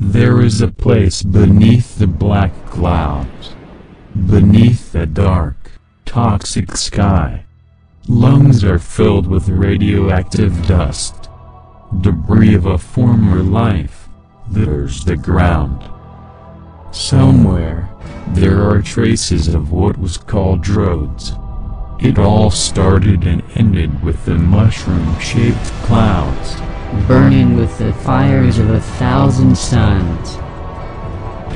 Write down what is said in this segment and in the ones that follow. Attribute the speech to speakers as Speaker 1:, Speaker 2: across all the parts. Speaker 1: There is a place beneath the black clouds, beneath the dark, toxic sky. Lungs are filled with radioactive dust, debris of a former life, litters the ground. Somewhere, there are traces of what was called roads. It all started and ended with the mushroom shaped clouds.
Speaker 2: burning with the fires of a thousand suns.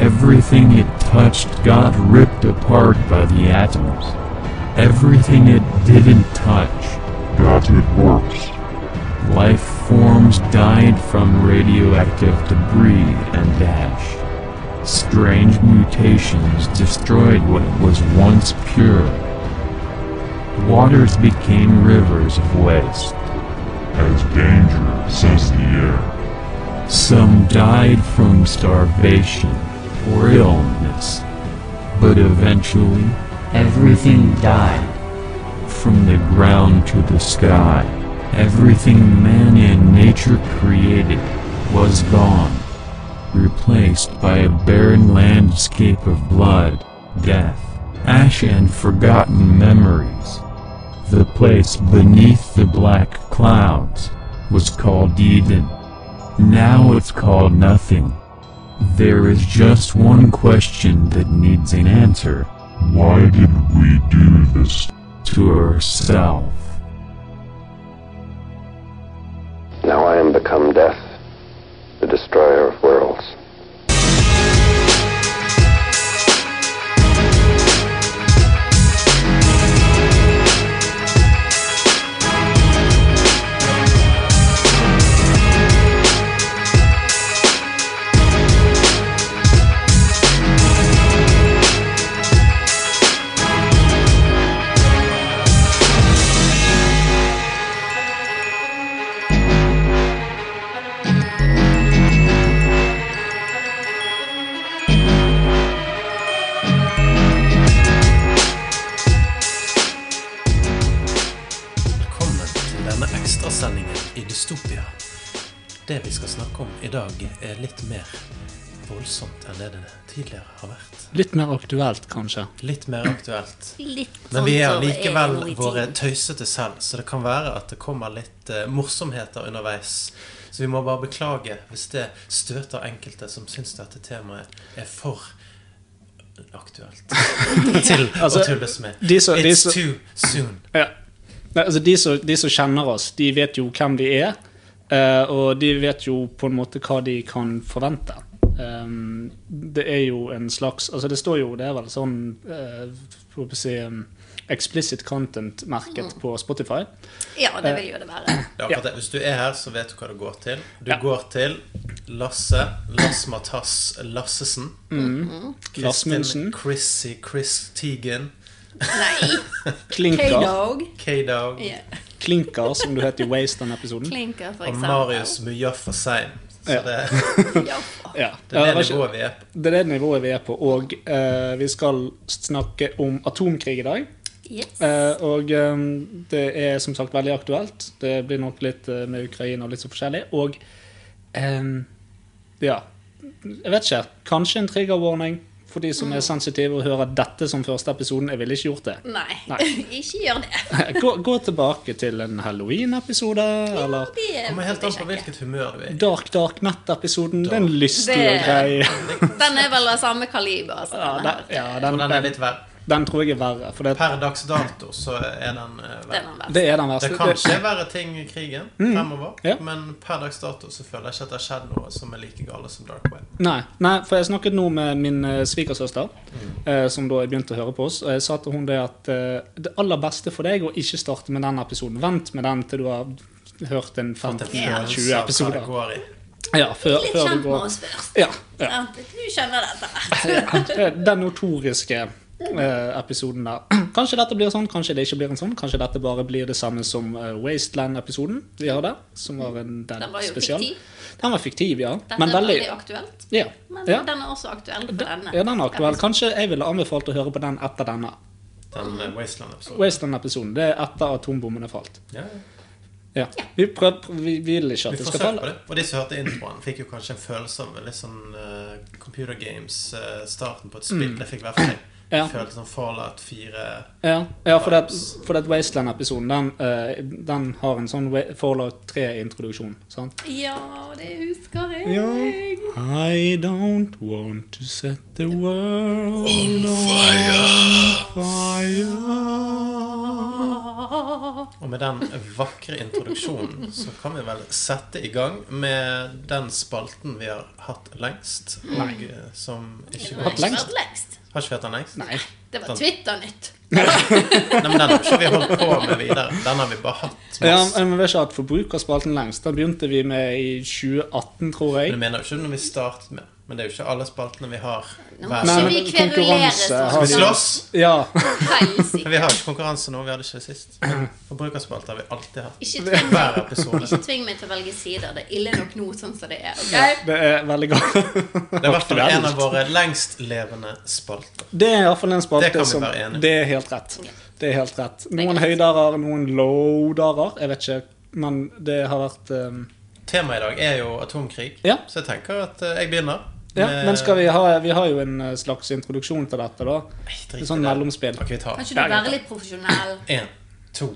Speaker 1: Everything it touched got ripped apart by the atoms. Everything it didn't touch got it worse. Life forms died from radioactive debris and ash. Strange mutations destroyed what was once pure. Waters became rivers of waste.
Speaker 3: as danger, says the air.
Speaker 1: Some died from starvation or illness. But eventually,
Speaker 2: Everything died.
Speaker 1: From the ground to the sky, everything man and nature created was gone, replaced by a barren landscape of blood, death, ash, and forgotten memories. The place beneath the black clouds was called Eden. Now it's called nothing. There is just one question that needs an answer
Speaker 3: Why did we do this?
Speaker 1: to herself.
Speaker 4: Now I am become death, the destroyer of worlds.
Speaker 5: Velkommen til denne ekstrasendingen i Dystopia. Det vi skal snakke om i dag, er litt mer voldsomt enn det det tidligere har vært.
Speaker 6: Litt mer aktuelt, kanskje.
Speaker 5: Litt mer aktuelt.
Speaker 7: Litt
Speaker 5: Men vi er
Speaker 7: sånn som
Speaker 5: likevel
Speaker 7: noe i
Speaker 5: våre
Speaker 7: tiden.
Speaker 5: tøysete selv, så det kan være at det kommer litt eh, morsomheter underveis. Så vi må bare beklage hvis det støter enkelte som syns dette temaet er for aktuelt til å
Speaker 6: Altså,
Speaker 5: tulles med.
Speaker 6: de som- de
Speaker 5: It's
Speaker 6: som-
Speaker 5: too soon.
Speaker 6: Ja. Nei, altså, de, som, de som kjenner oss, de vet jo hvem vi er. eh, og de vet jo på en måte hva de kan forvente. Ehm, det er jo en slags Altså, det står jo Det er vel sånn uh, Får vi si um, Explicit content-merket på Spotify.
Speaker 7: Ja, det vil jo det være.
Speaker 5: Det er akkurat det. Hvis du er her, så vet du hva du går til. Du
Speaker 6: Ja.
Speaker 5: går til Lasse Lass-Matas Lassesen.
Speaker 6: Lassmundsen.
Speaker 5: Chrissy Chris Teigen.
Speaker 7: Nei,
Speaker 6: Klinker,
Speaker 7: K-Dog.
Speaker 5: K-Dog.
Speaker 7: Ja,
Speaker 6: Klinker, som du het i Waste den episoden.
Speaker 7: Klinker, for
Speaker 5: Og
Speaker 7: eksempel.
Speaker 5: Marius Mujaffa Seim. Så
Speaker 6: Ja.
Speaker 5: det,
Speaker 7: Ja.
Speaker 6: Ja.
Speaker 5: det er
Speaker 6: Ja,
Speaker 5: det
Speaker 6: var ikke-
Speaker 5: nivået vi er på.
Speaker 6: det er det nivået vi er på. Og eh, vi skal snakke om atomkrig i dag.
Speaker 7: Yes.
Speaker 6: Eh, og eh, det er som sagt veldig aktuelt. Det blir nok litt eh, med Ukraina og litt så forskjellig. Og eh, ja Jeg vet ikke. Kanskje en trigger warning for de som er sensitive og hører dette som første episoden. Jeg ville ikke gjort det.
Speaker 7: Nei,
Speaker 6: Nei.
Speaker 7: ikke gjør det.
Speaker 6: gå, gå tilbake til en halloween-episode, eller
Speaker 7: Det er
Speaker 5: Kommer helt an på
Speaker 7: kjekke.
Speaker 5: hvilket humør du er i.
Speaker 6: Dark Dark Net-episoden. Det er en lystig og
Speaker 7: Det-
Speaker 6: grei
Speaker 7: Den er vel av samme kaliber. Altså,
Speaker 6: ja,
Speaker 7: denne
Speaker 6: den,
Speaker 7: her.
Speaker 6: ja,
Speaker 5: Og
Speaker 6: den,
Speaker 5: den er
Speaker 6: den,
Speaker 5: litt verre.
Speaker 6: tror jeg er verre. For det,
Speaker 5: Per dags dato så er den eh,
Speaker 7: Den er
Speaker 5: verre.
Speaker 7: verst.
Speaker 6: det er den
Speaker 5: Det
Speaker 6: verste.
Speaker 5: kan skje verre ting i krigen fremover,
Speaker 6: Mm. Ja.
Speaker 5: men per dags dato så føler jeg ikke at det har skjedd noe som er like gale som Dark Web.
Speaker 6: Nei, nei, for jeg snakket nå med min eh, svigersøster, eh, som da begynte å høre på oss. Og jeg sa til hun det at eh, det aller beste for deg å ikke starte med den episoden. Vent med den til du har hørt en
Speaker 5: At det
Speaker 6: 15-20
Speaker 5: føles av hva det
Speaker 6: episoder.
Speaker 5: går i.
Speaker 6: Ja, før,
Speaker 7: Litt
Speaker 6: før du
Speaker 7: kjent med
Speaker 6: går
Speaker 7: oss først.
Speaker 6: ja, ja.
Speaker 7: Ja, du skjønner dette.
Speaker 6: Det- Den notoriske eh, episoden der. Kanskje dette blir sånn, kanskje det ikke blir en sånn. Kanskje dette bare blir det samme som eh, Wasteland-episoden vi hadde. Som var en den,
Speaker 7: Den var jo
Speaker 6: spesial.
Speaker 7: fiktiv.
Speaker 6: Den var fiktiv, ja.
Speaker 7: Dette
Speaker 6: Men
Speaker 7: er
Speaker 6: veldig
Speaker 7: veldig aktuelt.
Speaker 6: ja.
Speaker 7: Men
Speaker 6: ja.
Speaker 7: den er også aktuell for denne.
Speaker 6: Ja, den er aktuell. Kanskje jeg ville anbefalt å høre på den etter denne.
Speaker 5: Den eh, Wasteland-episoden.
Speaker 6: Wasteland-episoden. Det er etter atombomben er falt.
Speaker 5: Ja.
Speaker 6: Ja. Vi, prøv, prøv, vi vi vil ikke at
Speaker 5: Vi
Speaker 6: det skal
Speaker 5: forsøkte på
Speaker 6: falle.
Speaker 5: det. Og de som hørte introen, fikk jo kanskje en følelse av litt sånn eh, computer games, eh, starten på et spill. Det fikk i hvert fall jeg.
Speaker 6: Mm. Ja.
Speaker 5: Følte som Fallout 4
Speaker 6: Ja, ja for det, for det Wasteland-episoden den, eh, den har en sånn Wa- Fallout 3-introduksjon. sant?
Speaker 7: Ja, det husker jeg.
Speaker 6: Ja. I don't want to set the world on fire.
Speaker 5: Og med den vakre introduksjonen så kan vi vel sette i gang med den spalten vi har hatt lengst. Og eh, som ikke
Speaker 7: Den har
Speaker 5: går
Speaker 6: Hatt
Speaker 7: ikke
Speaker 6: lengst?
Speaker 7: vært lengst.
Speaker 5: Har ikke vi hatt den lengst?
Speaker 6: Nei.
Speaker 7: Det
Speaker 5: Sånn.
Speaker 7: var Twitter-nytt.
Speaker 5: Nei, men den har ikke vi holdt på med videre. Den har vi bare hatt
Speaker 6: Ja,
Speaker 5: masse.
Speaker 6: men vi har ikke hatt forbrukerspalten lengst. Den begynte vi med i 2018, tror
Speaker 5: Men jeg
Speaker 6: jeg.
Speaker 5: mener jo ikke når vi startet med Men det er jo ikke alle spaltene vi har
Speaker 7: Nå
Speaker 5: hver
Speaker 7: må
Speaker 6: Nei,
Speaker 7: ikke
Speaker 5: søndag.
Speaker 7: vi
Speaker 6: men
Speaker 7: kverulere
Speaker 6: konkurranse har
Speaker 5: Skal vi
Speaker 7: sånn.
Speaker 5: slåss?
Speaker 6: Ja.
Speaker 5: Men
Speaker 7: Helsike.
Speaker 5: vi har ikke konkurranse nå. Vi hadde ikke det sist. Forbrukerspalter har vi alltid hatt.
Speaker 7: Ikke tving,
Speaker 5: Hver episode.
Speaker 7: ikke tving meg til å velge sider. Det er ille nok nå sånn som det er.
Speaker 6: ja.
Speaker 7: ok?
Speaker 6: Det er veldig godt.
Speaker 5: Det er i hvert fall en av våre lengstlevende spalter.
Speaker 6: Det er iallfall
Speaker 5: Det
Speaker 6: en
Speaker 5: kan
Speaker 6: spalte
Speaker 5: vi
Speaker 6: som
Speaker 5: være enige i.
Speaker 6: Det er helt rett. Det er helt rett. Noen
Speaker 7: Det er
Speaker 6: høyderer, noen lowderer. Jeg vet ikke, men det har vært um,
Speaker 5: Temaet i dag er jo atomkrig,
Speaker 6: Ja.
Speaker 5: så jeg tenker at eh, jeg begynner.
Speaker 6: Ja,
Speaker 5: med-
Speaker 6: men skal vi ha Vi har jo en eh, slags introduksjon til dette, da.
Speaker 5: Nei, drit i
Speaker 6: Sånn
Speaker 5: det.
Speaker 6: mellomspill.
Speaker 5: Ok, vi tar
Speaker 7: Kan ikke
Speaker 6: Ja,
Speaker 7: du
Speaker 6: greit.
Speaker 7: være litt profesjonell?
Speaker 5: én, to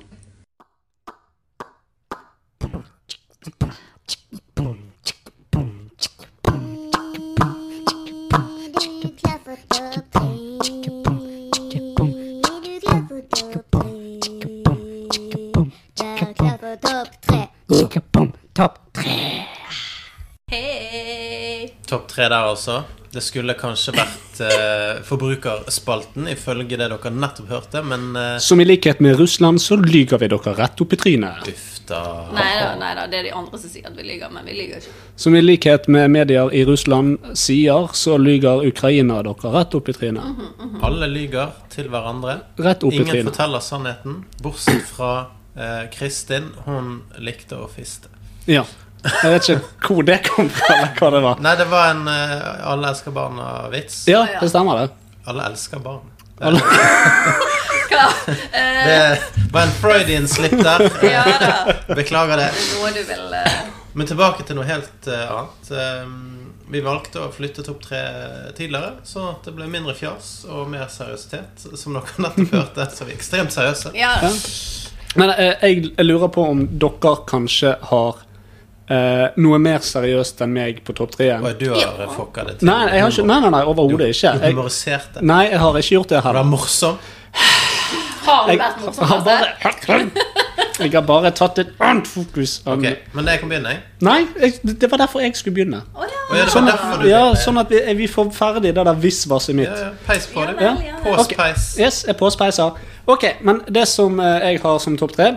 Speaker 7: Hei!
Speaker 5: Topp tre der, altså. Det skulle kanskje vært eh, Forbrukerspalten, ifølge det dere nettopp hørte, men eh,
Speaker 6: Som i likhet med Russland, så lyger vi dere rett opp i trynet.
Speaker 5: Uff, da.
Speaker 7: Nei da, nei da, det er de andre som sier at vi lyver, men vi lyver ikke.
Speaker 6: Som i likhet med medier i Russland sier, så lyger Ukraina dere rett opp i trynet.
Speaker 5: Alle lyger til hverandre.
Speaker 6: Rett opp i
Speaker 5: Ingen
Speaker 6: trynet.
Speaker 5: forteller sannheten, bortsett fra eh, Kristin. Hun likte å fiste.
Speaker 6: Ja. Jeg vet ikke hvor det kom fra, eller hva det var.
Speaker 5: Nei, det var en eh, alle elsker barna-vits.
Speaker 6: Ja, det stemmer, det.
Speaker 5: Alle elsker barn.
Speaker 7: Hva? Eh,
Speaker 5: Det var en Freudian slip der.
Speaker 7: Ja da.
Speaker 5: Beklager det.
Speaker 7: Noe du vil eh,
Speaker 5: Men tilbake til noe helt eh, annet. Um, vi valgte å flytte topp tre tidligere, sånn at det ble mindre fjas og mer seriøsitet. Som dere nettopp hørte, så er vi ekstremt seriøse.
Speaker 7: Ja da.
Speaker 6: Men eh, jeg, jeg lurer på om dere kanskje har eh, noe mer seriøst enn meg på topp tre.
Speaker 5: Og du har eh, fucka det til.
Speaker 6: Nei, jeg har ikke, nei, nei, nei overhodet ikke.
Speaker 5: Du
Speaker 6: Jeg,
Speaker 5: humoriserte.
Speaker 6: nei, jeg har ikke gjort det
Speaker 5: Du
Speaker 6: heller.
Speaker 5: var morsom.
Speaker 7: Har du
Speaker 6: Jeg
Speaker 7: vært morsom?
Speaker 6: har bare Jeg har bare tatt et annet fokus. enn-
Speaker 5: Ok, Men det kan begynne, jeg.
Speaker 6: Nei, jeg, det var derfor jeg skulle begynne.
Speaker 7: Å ja.
Speaker 5: Og ja, det var
Speaker 6: Sånn
Speaker 5: derfor
Speaker 6: at,
Speaker 5: du
Speaker 6: ja,
Speaker 5: ville-
Speaker 6: sånn at vi, vi får ferdig det der visvaset mitt.
Speaker 5: Ja, ja, Peis på det.
Speaker 7: Ja vel, ja vel.
Speaker 6: Ok.
Speaker 5: Påspeis.
Speaker 6: Yes, jeg påspeiser. Ok, men det som eh, jeg har som topp tre,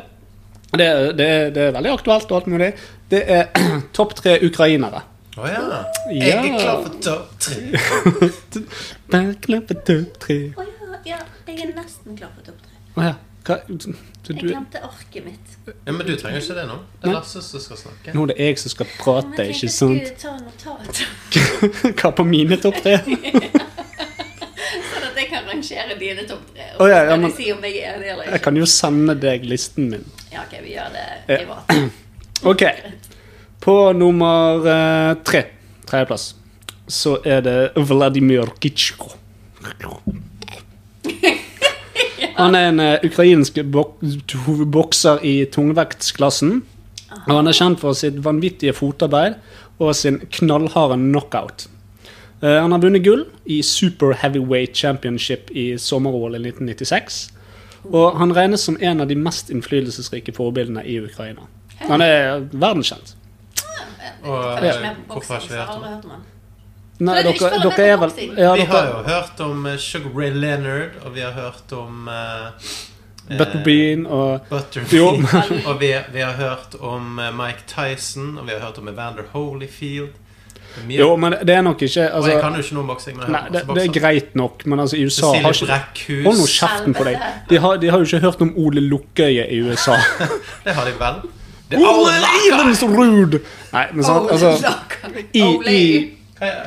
Speaker 6: det, er- det, er- det er veldig aktuelt og alt mulig, det er topp tre ukrainere.
Speaker 5: Å ja. Jeg
Speaker 6: Ja.
Speaker 5: er klar for topp tre.
Speaker 6: Bare klappe topp tre.
Speaker 7: Å ja, ja. Jeg er nesten klar for topp tre.
Speaker 6: Å ja. Hva? Du,
Speaker 7: Jeg
Speaker 6: du,
Speaker 7: glemte arket mitt.
Speaker 5: Ja, men du trenger ikke det nå. Det er Lasse som skal snakke.
Speaker 6: nå er det jeg som skal prate, ikke sant?
Speaker 7: Jeg tenkte jeg skulle ta notat,
Speaker 6: Hva på mine topp tre?
Speaker 7: sånn at jeg kan rangere dine topp tre. Og
Speaker 6: Å
Speaker 7: så
Speaker 6: ja, ja,
Speaker 7: kan
Speaker 6: men-
Speaker 7: jeg si om jeg er enig eller
Speaker 6: Jeg
Speaker 7: ikke.
Speaker 6: kan jo sende deg listen min.
Speaker 7: Ja, ok, vi gjør det
Speaker 6: Ja.
Speaker 7: privat.
Speaker 6: Ok. På nummer eh, tre, tredjeplass, så er det Vladimir Kitschko. Han er en eh, ukrainsk bok bokser i tungvektsklassen. Og han er kjent for sitt vanvittige fotarbeid og sin knallharde knockout. Eh, Han har vunnet gull i Super Heavyweight Championship i sommer-OL i 1996. Og han regnes som en av de mest innflytelsesrike forbildene i Ukraina. Han er verdenskjent.
Speaker 5: Og
Speaker 7: Jeg følger ikke med på
Speaker 5: hvorfor har
Speaker 7: boksing,
Speaker 5: ikke
Speaker 7: så
Speaker 5: vi
Speaker 7: jeg har
Speaker 5: hørt om det?
Speaker 7: aldri hørt om den.
Speaker 6: Nei,
Speaker 7: Men du
Speaker 6: dere,
Speaker 7: følger med
Speaker 6: dere
Speaker 7: på
Speaker 6: er vel
Speaker 7: boksing?
Speaker 6: ja,
Speaker 5: Vi har
Speaker 6: dere,
Speaker 5: jo hørt om eh, Sugar Ray Leonard, og vi har hørt om eh, eh,
Speaker 6: Butterbean og
Speaker 5: Butterbean.
Speaker 6: Jo.
Speaker 5: og vi, vi har hørt om eh, Mike Tyson, og vi har hørt om Evander Holyfield. Mye-
Speaker 6: Jo, men det er nok ikke
Speaker 5: og jeg
Speaker 6: altså,
Speaker 5: kan jo ikke noe om boksing, men jeg
Speaker 6: Nei,
Speaker 5: har
Speaker 6: det,
Speaker 5: hørt
Speaker 6: det
Speaker 5: masse
Speaker 6: er greit nok, men altså, i USA har
Speaker 5: Cecilie
Speaker 6: ikke Hold nå
Speaker 5: Brækhus.
Speaker 6: kjeften på deg. De har, de har jo ikke hørt om Ole Lukkøye i USA.
Speaker 5: Det har de vel. Det er
Speaker 6: Ole
Speaker 5: alle-
Speaker 6: Lukkøye, så rude! Nei, men sant, altså i, i,
Speaker 5: Hva er-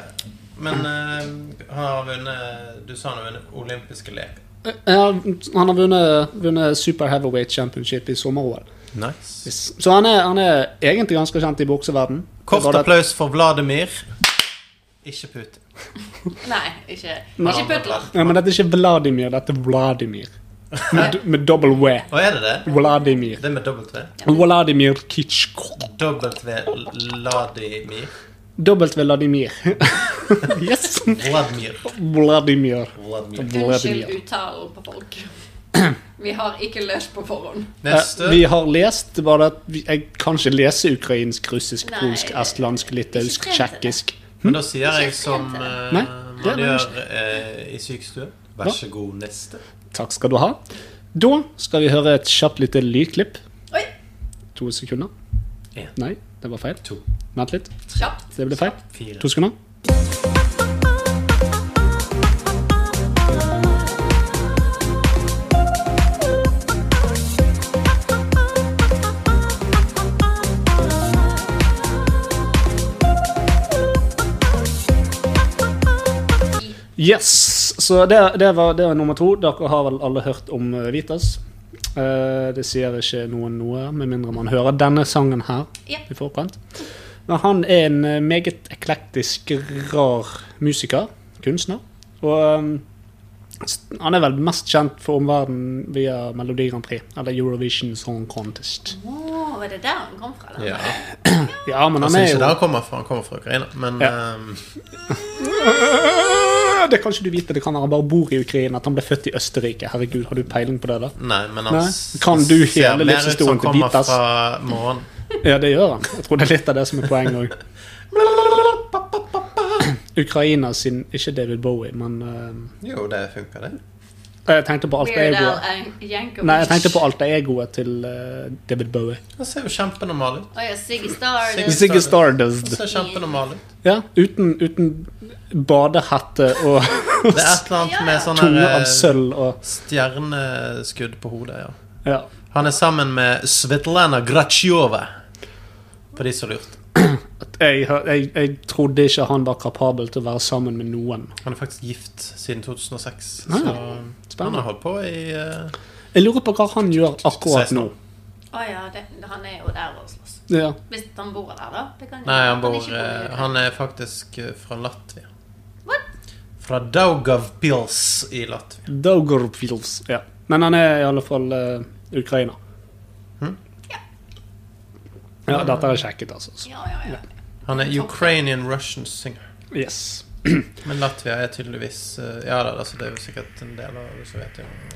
Speaker 5: Men eh, han har vunnet Du sa han har vunnet olympiske leker.
Speaker 6: Ja, Han har vunnet, vunnet Super Heavyweight Championship i sommer-OL.
Speaker 5: Nice.
Speaker 6: Så han er, han er egentlig ganske kjent i bokseverden.
Speaker 5: Kort
Speaker 6: Bare at-
Speaker 5: applaus for Vladimir. Ikke Putin.
Speaker 7: Nei, ikke,
Speaker 6: Nei.
Speaker 7: ikke putler.
Speaker 6: Nei, men dette er ikke Vladimir, dette er Vladimir. Med, med dobbel W.
Speaker 5: Og er det det?
Speaker 6: Vladimir.
Speaker 5: Det med dobbelt V?
Speaker 6: Vladimir Kitschko.
Speaker 5: Dobbelt V Vladimir.
Speaker 6: Dobbelt Vladimir. yes!
Speaker 5: Vladimir.
Speaker 6: Vladimir.
Speaker 5: Vladimir.
Speaker 7: Unnskyld
Speaker 6: Vladimir.
Speaker 7: uttalen på folk. Vi har ikke løst på forhånd.
Speaker 6: Eh,
Speaker 5: Neste.
Speaker 6: vi har lest det er bare at vi, Jeg kan ikke lese ukrainsk, russisk,
Speaker 7: Nei,
Speaker 6: polsk,
Speaker 7: det-
Speaker 6: estlandsk, litauisk,
Speaker 7: ikke trent i det.
Speaker 6: tsjekkisk.
Speaker 5: Men da sier jeg
Speaker 7: Ikke
Speaker 5: som
Speaker 7: trent,
Speaker 5: eh,
Speaker 6: Nei, det
Speaker 5: man
Speaker 6: er
Speaker 5: gjør eh, i sykestue. Vær så god, neste.
Speaker 6: Takk skal du ha. Da skal vi høre et kjapt lite lydklipp.
Speaker 7: Oi,
Speaker 6: To sekunder.
Speaker 5: En.
Speaker 6: Nei, det var feil.
Speaker 5: To.
Speaker 6: Vent litt.
Speaker 7: kjapt.
Speaker 6: Det ble feil.
Speaker 5: Fire.
Speaker 6: To sekunder. Yes, så det, det, var, det var nummer to. Dere har vel alle hørt om eh, Vitas. Eh, det sier ikke noen noe, med mindre man hører denne sangen her
Speaker 7: Ja.
Speaker 6: i forkant. Men han er en eh, meget eklektisk, rar musiker. Kunstner. Og eh, s- han er vel mest kjent for omverdenen via Melodi Grand Prix, eller Eurovision Song Contest.
Speaker 7: Å, var det der han kom fra? da?
Speaker 5: Ja.
Speaker 6: Ja, men han
Speaker 5: Altså,
Speaker 6: er
Speaker 5: ikke
Speaker 6: jo
Speaker 5: der han kommer fra, han kommer fra Ukraina, men
Speaker 6: Ja.
Speaker 5: ehm,
Speaker 6: Det kan ikke du vite, det kan være han bare bor i Ukraina, at han ble født i Østerrike. Herregud, har du peiling på det, da?
Speaker 5: Nei, men han
Speaker 6: Nei.
Speaker 5: s-
Speaker 6: Kan du
Speaker 5: ser
Speaker 6: hele
Speaker 5: mer
Speaker 6: livshistorien
Speaker 5: ut som
Speaker 6: til
Speaker 5: kommer
Speaker 6: Vitas?
Speaker 5: fra morgen.
Speaker 6: Ja, det gjør han. Jeg tror det er litt av det som er poenget òg. Ukraina sin Ikke David Bowie, men eh,
Speaker 5: Jo, det funker, det.
Speaker 6: Jeg tenkte på alter
Speaker 7: Weird Al
Speaker 6: egoet.
Speaker 7: An- Yankovic.
Speaker 6: Nei, jeg tenkte på alter egoet til eh, David Bowie.
Speaker 5: Han ser jo kjempenormal ut.
Speaker 7: Å ja, Ziggy Star.
Speaker 5: Ziggy
Speaker 7: det-
Speaker 5: Star-
Speaker 6: Ziggy
Speaker 5: Han
Speaker 6: Stardust.
Speaker 5: ser kjempenormal ut.
Speaker 6: Ja, uten, uten badehette og
Speaker 5: Det er et eller annet med sånn
Speaker 6: tunge
Speaker 5: her
Speaker 6: av
Speaker 5: eh,
Speaker 6: sølv og
Speaker 5: stjerneskudd på hodet, ja.
Speaker 6: Ja.
Speaker 5: Han er sammen med Svetlana Gratsjova. For de som lurte.
Speaker 6: Jeg, jeg, jeg trodde ikke han var kapabel til å være sammen med noen.
Speaker 5: Han er faktisk gift siden 2006.
Speaker 6: Ah,
Speaker 5: så han har
Speaker 6: Spennende.
Speaker 5: holdt på i eh,
Speaker 6: Jeg lurer på hva han gjør akkurat
Speaker 5: 16
Speaker 6: nå.
Speaker 5: år.
Speaker 7: Å ja, det, han er jo der og slåss.
Speaker 6: Ja.
Speaker 7: Hvis han bor der, da. Det kan jo
Speaker 5: Nei,
Speaker 7: være
Speaker 5: han
Speaker 7: at
Speaker 5: bor
Speaker 7: ikke i
Speaker 5: eh,
Speaker 7: Ukraina.
Speaker 5: Han er faktisk eh, fra Latvia.
Speaker 7: What?
Speaker 5: Fra Daugavpils i Latvia.
Speaker 6: Daugavpils. Ja. Men han er i alle fall eh, Ukraina.
Speaker 5: Hm?
Speaker 7: Ja.
Speaker 6: Ja, dette har jeg sjekket, altså.
Speaker 7: Ja, ja, ja.
Speaker 5: Han er Ukrainian Russian singer.
Speaker 6: Yes.
Speaker 5: Men Latvia er tydeligvis eh, Ja da, altså, det er jo sikkert en del av Sovjetunionen.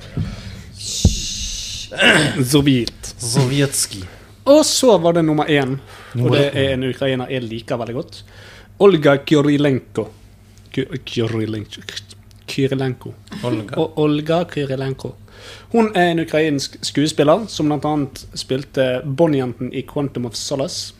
Speaker 6: Så vidt.
Speaker 5: Sovjetski.
Speaker 6: Og så var det nummer én, og det er en ukrainer jeg liker veldig godt. Olga Kyrilenko. Ky- Kyrilenko Kyrilenko.
Speaker 5: Olga.
Speaker 6: Og Olga Kyrilenko. Hun er en ukrainsk skuespiller som bl.a. spilte Bondjenten i Quantum of Solace.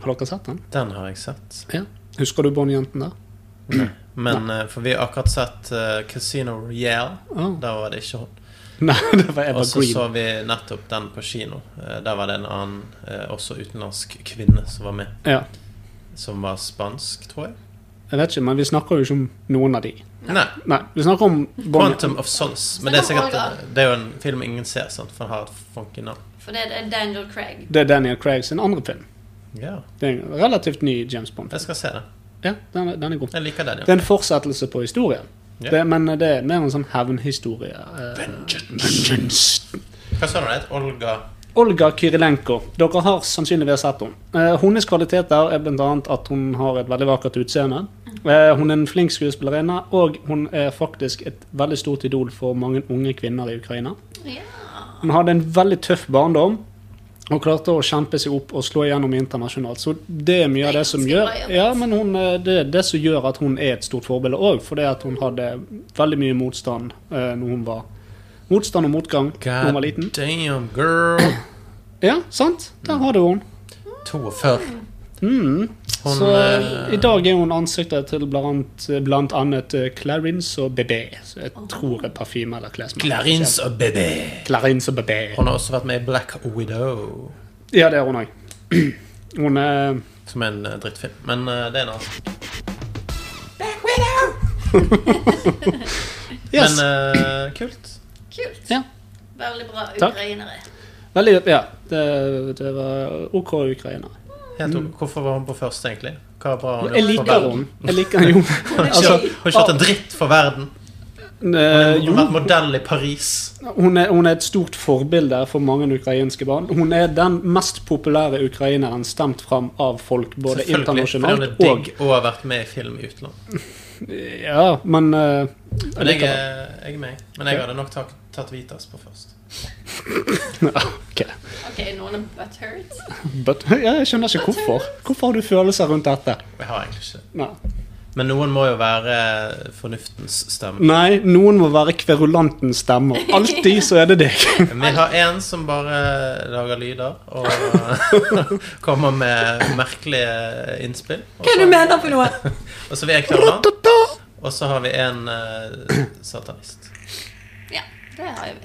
Speaker 6: Har dere sett den?
Speaker 5: Den har jeg sett.
Speaker 6: Ja. Husker du Bondjenten der?
Speaker 5: Men eh, for vi har akkurat sett eh, Casino Royale.
Speaker 6: Ah.
Speaker 5: Der var det ikke hun.
Speaker 6: Nei, det var Eva
Speaker 5: Og så
Speaker 6: Green.
Speaker 5: så vi nettopp den på kino. Eh, Der var det en annen, eh, også utenlandsk kvinne, som var med.
Speaker 6: Ja.
Speaker 5: Som var spansk, tror jeg.
Speaker 6: Jeg vet ikke, men vi snakker jo ikke om noen av de.
Speaker 5: Nei.
Speaker 6: Nei, vi snakker om Bonnie.
Speaker 5: Quantum of Solace. Men det er sikkert eh, Det er jo en film ingen ser, sant? for den har et funky navn.
Speaker 7: For det er Daniel Craig.
Speaker 6: Det er Daniel Craig sin andre film.
Speaker 5: Ja,
Speaker 6: Det er en relativt ny James Bond.
Speaker 5: jeg skal se den.
Speaker 6: Ja, den, er- den er god.
Speaker 5: Jeg liker den.
Speaker 6: Det er en fortsettelse på historien.
Speaker 5: Ja.
Speaker 6: Det, men det er mer en sånn hevnhistorie. eh. Vengeance.
Speaker 5: Ja. Hva sa du det het? Olga
Speaker 6: Olga Kyrilenko. Dere har sannsynligvis sett henne. Eh, hennes kvaliteter er bl.a. at hun har et veldig vakkert utseende. Eh, hun er en flink skuespillerinne, og hun er faktisk et veldig stort idol for mange unge kvinner i Ukraina.
Speaker 7: Ja.
Speaker 6: Han hadde en veldig tøff barndom og klarte å kjempe seg opp og slå igjennom internasjonalt. Så det er mye av det som
Speaker 7: Det er
Speaker 6: gjør
Speaker 7: ganske bra jobbet.
Speaker 6: Ja, men hun, eh, det er det som gjør at hun er et stort forbilde òg, fordi at hun hadde veldig mye motstand eh, når hun var Motstand og motgang da hun var liten.
Speaker 5: damn girl.
Speaker 6: Ja, sant? Der har du hun.
Speaker 5: 42.
Speaker 6: Mm.
Speaker 5: Hun
Speaker 6: så
Speaker 5: eh,
Speaker 6: i dag er hun ansiktet til blant, blant annet eh, Clarins og BB. Så jeg tror det er parfyme eller klesmerke.
Speaker 5: Clarins og Bebe.
Speaker 6: Clarins og BB.
Speaker 5: Hun har også vært med i Black Widow,
Speaker 6: Ja, det er hun òg. Hun er
Speaker 5: som er en eh, drittfilm. Men eh, det er en annen.
Speaker 6: Yes.
Speaker 5: Men eh, kult.
Speaker 7: Kult.
Speaker 6: Ja.
Speaker 5: eh,
Speaker 7: Veldig bra
Speaker 6: Takk.
Speaker 7: ukrainere.
Speaker 6: Veldig, ja, det, det var OK ukrainer.
Speaker 5: Helt
Speaker 6: Mm.
Speaker 5: ok. Hvorfor var hun på første, egentlig? Hva var bra hun
Speaker 6: Jeg
Speaker 5: gjorde for
Speaker 6: liker
Speaker 5: verden?
Speaker 6: henne. Jeg liker henne jo.
Speaker 5: Altså,
Speaker 6: Altså,
Speaker 5: hun har ikke hatt en dritt for verden.
Speaker 6: eh,
Speaker 5: Hun
Speaker 6: jo,
Speaker 5: har vært modell i Paris.
Speaker 6: hun er, hun er et stort forbilde for mange ukrainske barn. Hun er den mest populære ukraineren stemt fram av folk, både
Speaker 5: Selvfølgelig. Fordi hun er
Speaker 6: internasjonalt og
Speaker 5: digg og har vært med i film i utlandet.
Speaker 6: Ja, men eh,
Speaker 5: Men jeg,
Speaker 6: liker henne.
Speaker 5: er- jeg er meg. Men jeg hadde nok tak- tatt Vitas på først.
Speaker 7: OK, noen er butthurt.
Speaker 6: But, ja, Jeg skjønner ikke hvorfor. Hvorfor har du følelser rundt dette?
Speaker 5: Jeg har egentlig ikke det.
Speaker 6: Nei.
Speaker 5: Men noen må jo være fornuftens stemme.
Speaker 6: Nei, noen må være kverulantens stemme. og Alltid så er det deg.
Speaker 5: Vi har en som bare lager lyder og kommer med merkelige innspill. Og så,
Speaker 7: mener for noe?
Speaker 5: og så vi er klare da. Og så har vi en eh, satanist.
Speaker 7: Ja, det har jeg.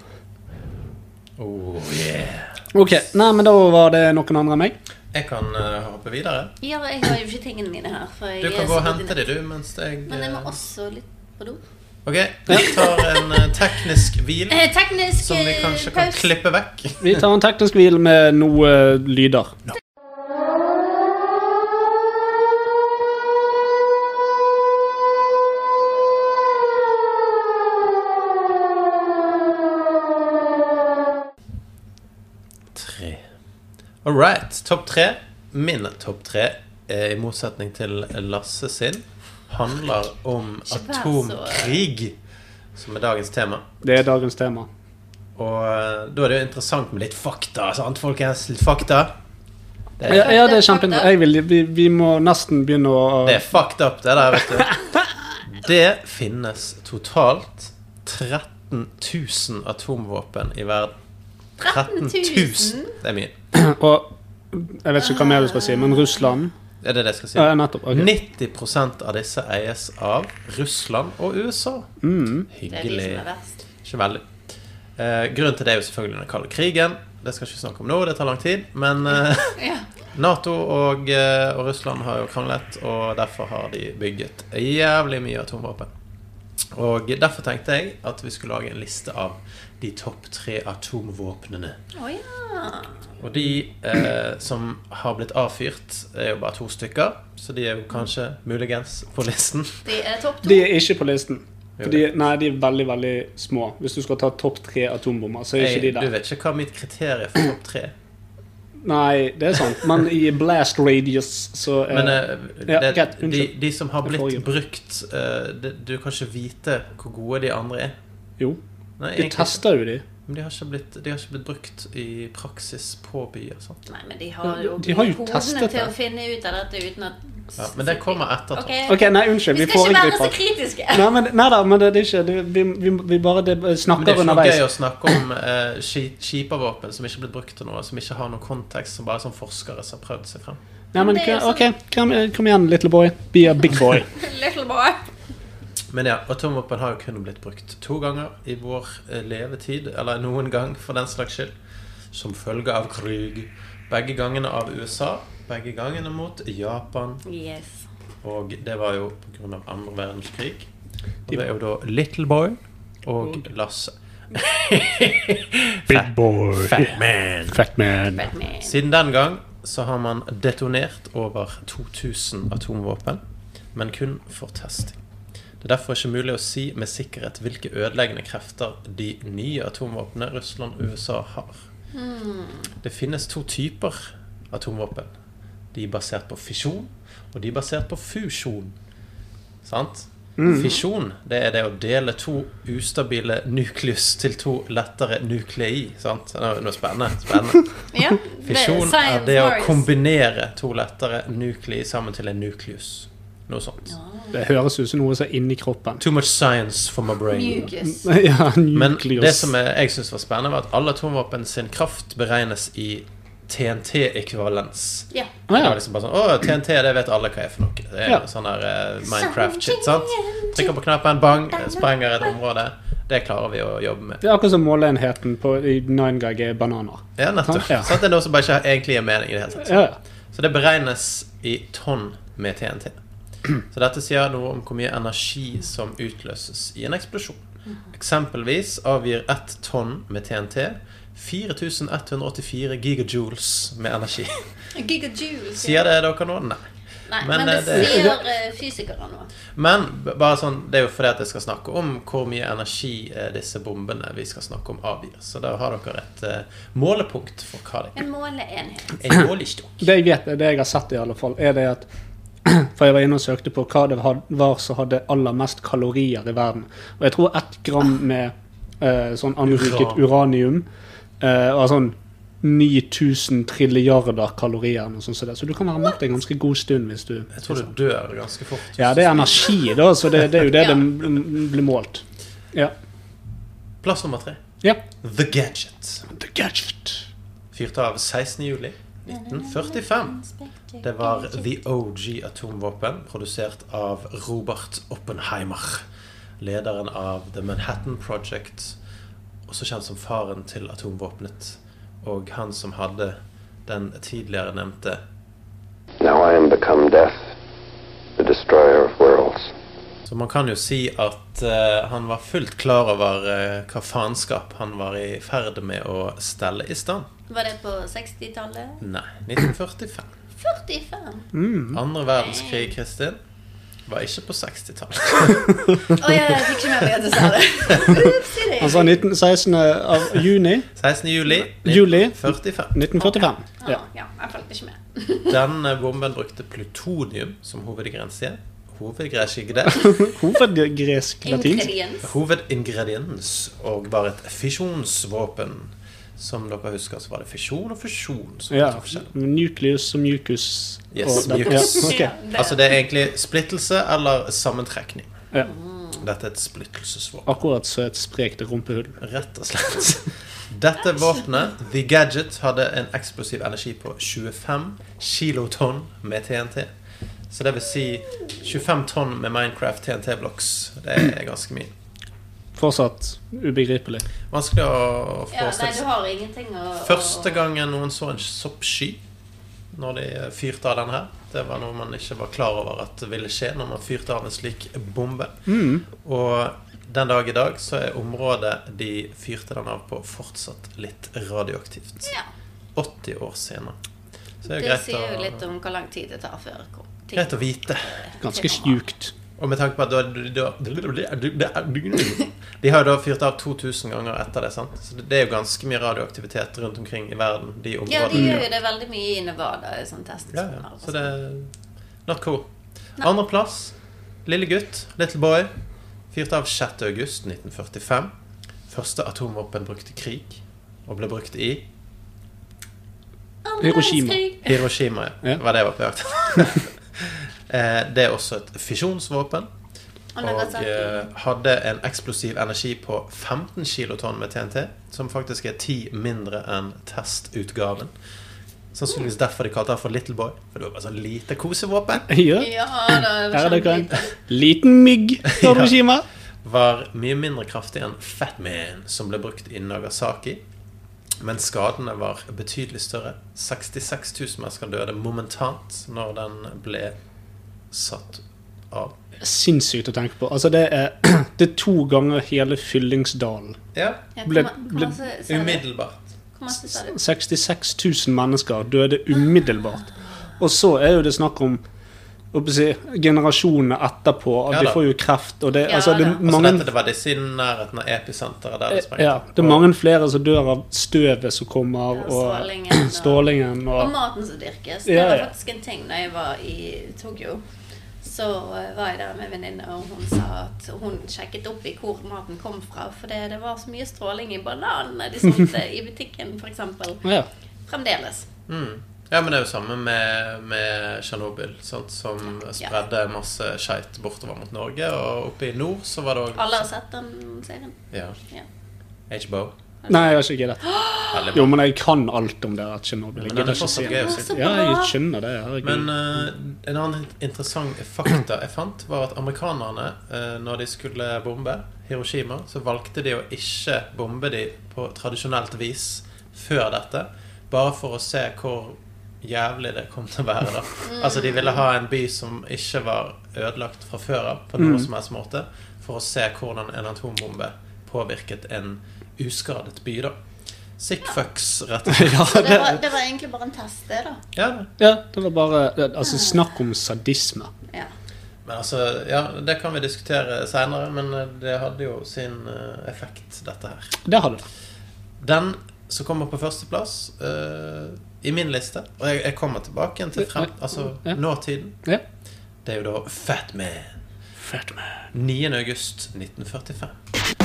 Speaker 5: Oh, yeah.
Speaker 6: Ok, Nei, men da var det noen andre enn meg.
Speaker 5: Jeg kan eh, hoppe videre.
Speaker 7: Ja, jeg har jo ikke tingene mine her. For jeg
Speaker 5: Du
Speaker 7: er
Speaker 5: kan gå og
Speaker 7: så
Speaker 5: hente dem, du, mens jeg
Speaker 7: Men jeg må
Speaker 5: eh,
Speaker 7: også litt på do.
Speaker 5: OK, jeg tar en eh, teknisk hvil
Speaker 7: Eh, teknisk
Speaker 5: som vi
Speaker 7: eh,
Speaker 5: kanskje kan
Speaker 7: pause.
Speaker 5: klippe vekk.
Speaker 6: Vi tar en teknisk hvil med noe eh, lyder.
Speaker 5: Tre. All right. Topp tre. Min topp tre, eh, i motsetning til Lasse sin, handler om
Speaker 7: Ikke vær så-
Speaker 5: atomkrig, som er dagens tema.
Speaker 6: Det er dagens tema.
Speaker 5: Og eh, da er det jo interessant med litt fakta, sant, folkens? Litt fakta.
Speaker 6: Ja, ja det er kjempeinteressant. Jeg vil, vi, vi må nesten begynne å
Speaker 5: Det er fucked up, det der, vet du. Det finnes totalt 13 000 atomvåpen i verden.
Speaker 7: 13 000?
Speaker 5: Det er mye.
Speaker 6: og, Jeg vet ikke hva mer du skal si, men Russland
Speaker 5: Er det det jeg skal si?
Speaker 6: Ja, nettopp. ok.
Speaker 5: 90 av disse eies av Russland og USA.
Speaker 7: Det er de
Speaker 5: Hyggelig.
Speaker 7: som er verst.
Speaker 5: Ikke veldig. Eh, grunnen til det er jo selvfølgelig den kalde krigen. Det skal jeg ikke snakke om nå, det tar lang tid. Men eh,
Speaker 7: Ja.
Speaker 5: Nato og, eh, og Russland har jo kranglet, og derfor har de bygget jævlig mye atomvåpen. Og derfor tenkte jeg at vi skulle lage en liste av de topp tre atomvåpnene.
Speaker 7: Å ja.
Speaker 5: Og de eh, som har blitt avfyrt, er jo bare to stykker, så de er jo kanskje muligens på listen.
Speaker 7: De er topp to.
Speaker 6: De er ikke på listen. Fordi, nei, de er veldig, veldig små. Hvis du skal ta topp tre atombomber, så er
Speaker 5: Jeg,
Speaker 6: ikke de
Speaker 5: du
Speaker 6: der.
Speaker 5: vet ikke hva mitt kriterium for topp tre er.
Speaker 6: Nei, det er sant. Men i blast radius så er
Speaker 5: Men eh,
Speaker 6: ja,
Speaker 5: det,
Speaker 6: greit,
Speaker 5: de,
Speaker 6: unnskyld.
Speaker 5: de som har
Speaker 6: Jeg får
Speaker 5: blitt
Speaker 6: jo.
Speaker 5: brukt eh, det, Du kan ikke vite hvor gode de andre er.
Speaker 6: Jo,
Speaker 5: Nei,
Speaker 6: de
Speaker 5: egentlig ikke.
Speaker 6: tester jo de.
Speaker 5: Men de har ikke blitt, de har ikke blitt brukt i praksis på byer. Sant?
Speaker 7: Nei, men de har jo,
Speaker 6: De har jo
Speaker 7: kodene
Speaker 6: testet
Speaker 7: til
Speaker 6: det.
Speaker 7: å finne ut av dette uten at
Speaker 5: Ja, men det kommer etter.
Speaker 7: Ok,
Speaker 5: Okay.
Speaker 6: Ok, nei, unnskyld.
Speaker 7: Eh, Vi
Speaker 6: Vi
Speaker 7: skal ikke være så
Speaker 6: foregriper.
Speaker 7: kritiske.
Speaker 6: Nei, men, nei da, men det, det er ikke det, vi, vi, vi bare det,
Speaker 5: Men det
Speaker 6: snakker
Speaker 5: er ikke noe
Speaker 6: underveis.
Speaker 5: gøy å snakke om eh, ski- skipervåpen som ikke er blitt brukt til noe, som ikke har noen kontekst, som bare sånn forskere som har prøvd seg frem.
Speaker 6: Nei, men,
Speaker 7: Det er jo
Speaker 6: ok, kom, kom igjen, little boy. Be a big boy.
Speaker 7: Little boy.
Speaker 5: Men ja, atomvåpen har jo kun blitt brukt to ganger i vår eh, levetid, eller noen gang for den slags skyld, som følge av krig. Begge gangene av USA, begge gangene mot Japan,
Speaker 7: Yes.
Speaker 5: og det var jo pga. andre verdenskrig. Og det er jo da Little Boy og Lasse.
Speaker 6: Big boy.
Speaker 5: Fat man.
Speaker 6: Fat man.
Speaker 7: Batman.
Speaker 5: Siden den gang så har man detonert over 2000 atomvåpen, men kun for testing. Det er derfor ikke mulig å si med sikkerhet hvilke ødeleggende krefter de nye atomvåpnene Russland og USA har. Det finnes to typer atomvåpen. De basert på fisjon, og de basert på fusjon. Sant? Fisjon det er det å dele to ustabile nukleus til to lettere nuklei. Sant? Det er jo noe spennende. spennende.
Speaker 7: Ja,
Speaker 5: Fisjon er det å
Speaker 7: science works.
Speaker 5: kombinere to lettere nuklei sammen til en nukleus. Noe sånt.
Speaker 6: Det høres ut som noe som er inni kroppen.
Speaker 5: Too much science for my brain.
Speaker 7: Mucus.
Speaker 6: Ja,
Speaker 5: Men
Speaker 6: nukleus.
Speaker 5: det som jeg jeg syns var spennende, var at alle atomvåpen sin kraft beregnes i TNT-ekvivalens.
Speaker 7: Ja.
Speaker 6: Ah,
Speaker 5: Det
Speaker 6: ja.
Speaker 5: var liksom bare sånn Å, TNT, det vet alle hva er for noe. Det er
Speaker 6: Ja.
Speaker 5: sånn der eh, Minecraft-shit, sant? Trykker på knappen, bang, sprenger et område. Det klarer vi å jobbe med.
Speaker 6: Det er akkurat som måleenheten på i Nine Gag er bananer.
Speaker 5: Ja, nettopp.
Speaker 6: Ja.
Speaker 5: Sant? Det er noe som bare ikke egentlig gir mening i det hele tatt.
Speaker 6: Ja, ja.
Speaker 5: Så det beregnes i tonn med TNT. Så dette sier noe om hvor mye energi som utløses i en eksplosjon. Eksempelvis avgir ett tonn med TNT 4184 gigajoules med energi.
Speaker 7: Gigajoule.
Speaker 5: Sier det dere nå? Nei.
Speaker 8: Nei,
Speaker 5: Men,
Speaker 8: men,
Speaker 5: eh,
Speaker 8: det
Speaker 5: det-
Speaker 8: sier eh, fysikere nå.
Speaker 5: Men b- bare sånn, det er jo fordi at jeg skal snakke om hvor mye energi eh, disse bombene vi skal snakke om, avgir. Så da har dere et eh, målepunkt for hva det er.
Speaker 8: En måleenhet.
Speaker 5: En målestokk.
Speaker 6: Det jeg vet, det jeg har sett i alle fall, er det at For jeg var inne og søkte på hva det had- var som hadde aller mest kalorier i verden. Og jeg tror ett gram med eh, sånn anriket uranium eh, var sånn 9000 trilliarder kalorier. Noe sånt som det. Så du kan være mett en ganske god stund hvis du
Speaker 5: Jeg tror du dør ganske fort.
Speaker 6: Ja, det er energi, da, så det, det er jo det
Speaker 8: Ja.
Speaker 6: det m- blir målt. Ja.
Speaker 5: Plass nummer tre.
Speaker 6: ja.
Speaker 5: The Gadget.
Speaker 6: The gadget.
Speaker 5: Fyrt av 16. juli 1945. Det var The OG atomvåpen, produsert av Robert Oppenheimer. Lederen av The Manhattan Project, også kjent som faren til atomvåpenet. Og han som hadde den tidligere nevnte
Speaker 4: Now I am become death, the destroyer of worlds.
Speaker 5: Så man kan jo si at eh, han var fullt klar over eh, hva faenskap han var i ferd med å stelle i stand.
Speaker 8: Var det på 60-tallet?
Speaker 5: Nei, 1945.
Speaker 8: 45!
Speaker 5: Andre verdenskrig, Kristin, var ikke på 60-tallet.
Speaker 8: Å ja, jeg fikk ikke med meg at du sa det. Upsi-di.
Speaker 6: Han sa 19, 16. av juni
Speaker 5: 16. juli
Speaker 6: Juli.
Speaker 5: 1945.
Speaker 6: 1945.
Speaker 8: Ja,
Speaker 6: Ja.
Speaker 8: ja, jeg fulgte ikke med.
Speaker 5: Denne eh, bomben brukte plutonium som hovedgrense. Hovedgrense
Speaker 6: Hovedgresk latinsk.
Speaker 8: Ingrediens.
Speaker 5: Hovedingrediens og var et fisjonsvåpen. Som dere husker, så var det fisjon og fusjon. som var
Speaker 6: Ja.
Speaker 5: så forskjellig.
Speaker 6: Nucleus og mucus.
Speaker 5: Yes,
Speaker 6: og den-
Speaker 5: mucus.
Speaker 6: Ja, ok.
Speaker 8: Ja, det-
Speaker 5: Altså det er egentlig splittelse eller sammentrekning.
Speaker 6: Ja.
Speaker 5: Dette er et splittelsesvåpen.
Speaker 6: Akkurat så et sprekt rumpehull.
Speaker 5: Rett og slett. Dette våpenet, The Gadget, hadde en eksplosiv energi på 25 kilotonn med TNT. Så det vil si 25 tonn med Minecraft TNT-blocks. Det er ganske mye.
Speaker 6: Fortsatt ubegripelig.
Speaker 5: Vanskelig å
Speaker 8: Ja, nei,
Speaker 5: forestille
Speaker 8: du
Speaker 5: seg.
Speaker 8: har ingenting å å-
Speaker 5: Første gangen noen så en soppsky når de fyrte av denne her, det var noe man ikke var klar over at ville skje når man fyrte av en slik bombe. Mm. Og den dag i dag så er området de fyrte den av på, fortsatt litt radioaktivt.
Speaker 8: Ja.
Speaker 5: 80 år senere. Så det er
Speaker 8: Det
Speaker 5: greit
Speaker 8: sier jo
Speaker 5: å,
Speaker 8: litt om hvor lang tid det tar før ko- ting
Speaker 5: greit å vite.
Speaker 6: Ganske sjukt.
Speaker 5: Og med tanke på at da, da, De har jo da fyrt av 2000 ganger etter det, sant? Så det er jo ganske mye radioaktivitet rundt omkring i verden. De
Speaker 8: Ja, de
Speaker 6: Mm.
Speaker 5: områdene.
Speaker 8: gjør jo det veldig mye i Nevada. i Sånn test,
Speaker 5: Ja, ja. Så det er not cool. Andreplass. Lille gutt, little boy. Fyrt av 6. august 1945. Første atomvåpen brukt i krig. Og ble brukt i
Speaker 8: Andre
Speaker 6: Hiroshima.
Speaker 8: verdenskrig.
Speaker 5: Hiroshima. Ja.
Speaker 6: Ja.
Speaker 5: Det var det jeg var på jakt etter. Eh, det er også et fisjonsvåpen. Og
Speaker 8: Og Nagasaki.
Speaker 5: eh, hadde en eksplosiv energi på 15 kilotonn med TNT. Som faktisk er 10 mindre enn testutgaven. Sannsynligvis derfor de kalte det for Little Boy. For det var bare sånn lite kosevåpen.
Speaker 6: Ja,
Speaker 8: Ja da. det var
Speaker 6: her er det
Speaker 8: kjempefint.
Speaker 6: en liten mygg
Speaker 5: Ja.
Speaker 6: Hiroshima.
Speaker 5: var mye mindre kraftig enn Fat Man, som ble brukt i Nagasaki. Men skadene var betydelig større. 66 000 mennesker døde momentant når den ble satt av.
Speaker 6: Sinnssykt å tenke på. Altså, det er, det er to ganger hele Fyllingsdalen.
Speaker 5: Ja,
Speaker 8: Ja,
Speaker 6: Ble-
Speaker 8: hvor ma- hvor
Speaker 6: ble-
Speaker 8: masse sa du?
Speaker 5: umiddelbart.
Speaker 8: Hvor masse sa du?
Speaker 6: 66 000 mennesker døde umiddelbart. Og så er jo det snakk om å si, generasjonene etterpå. At
Speaker 5: Ja da.
Speaker 6: de får jo kreft, og det,
Speaker 8: Ja
Speaker 6: altså, det er
Speaker 8: da. Altså,
Speaker 5: Altså,
Speaker 6: mange
Speaker 5: dette det var disse i nærheten av episenteret der
Speaker 8: Eh,
Speaker 5: det sprengte.
Speaker 6: Ja, det er mange flere som dør av støvet som kommer,
Speaker 8: Ja, strålingen
Speaker 6: og
Speaker 8: og-
Speaker 6: strålingen
Speaker 8: Og
Speaker 6: og
Speaker 8: maten som
Speaker 6: Ja,
Speaker 8: dyrkes. Det
Speaker 6: ja.
Speaker 8: var faktisk en ting da jeg var i Tokyo. Så eh, var jeg der med en venninne, og hun sa at hun sjekket opp i hvor maten kom fra. For det, det var så mye stråling i bananene de solgte i butikken, f.eks.
Speaker 6: ja.
Speaker 8: Fremdeles.
Speaker 5: Mm. Ja, men det er jo samme med, med Tsjernobyl, sant, som spredde masse skeit bortover mot Norge. Og oppe i nord så var det òg
Speaker 8: Alle har sett den serien?
Speaker 5: Ja.
Speaker 8: Ja.
Speaker 5: HBO.
Speaker 6: Nei, jeg har ikke giddet.
Speaker 5: Veldig bra.
Speaker 6: Jo, men jeg kan alt om det at Tsjernobyl.
Speaker 5: Men
Speaker 6: Jeg
Speaker 5: den
Speaker 6: gidder
Speaker 5: er
Speaker 6: ikke
Speaker 5: fortsatt
Speaker 6: se
Speaker 5: gøy
Speaker 6: det.
Speaker 5: å
Speaker 8: Å,
Speaker 5: se.
Speaker 8: så
Speaker 6: Ja, jeg
Speaker 8: bra!
Speaker 6: skjønner det. herregud.
Speaker 5: Men eh, en annen interessant fakta jeg fant, var at amerikanerne, eh, når de skulle bombe Hiroshima, så valgte de å ikke bombe de på tradisjonelt vis før dette. Bare for å se hvor jævlig det kom til å være. da. Altså, De ville ha en by som ikke var ødelagt fra før av, på noen som helst måte, for å se hvordan en atombombe påvirket en uskadet by. da. Sick fucks, rett og slett.
Speaker 6: ja,
Speaker 8: Så det
Speaker 6: det,
Speaker 8: var, det var egentlig bare en test, det, da.
Speaker 5: Ja, da.
Speaker 6: ja, det var bare det- Altså, snakk om sadisme.
Speaker 8: Ja.
Speaker 5: Men altså, ja, det kan vi diskutere seinere, men eh, det hadde jo sin eh, effekt, dette her.
Speaker 6: Det hadde det.
Speaker 5: Den som kommer på førsteplass eh, i min liste, og jeg, jeg kommer tilbake igjen til frem, altså
Speaker 6: Ja.
Speaker 5: nåtiden,
Speaker 6: Ja.
Speaker 5: det er jo da Fat Man.
Speaker 6: Fett med.
Speaker 5: 9. august 1945.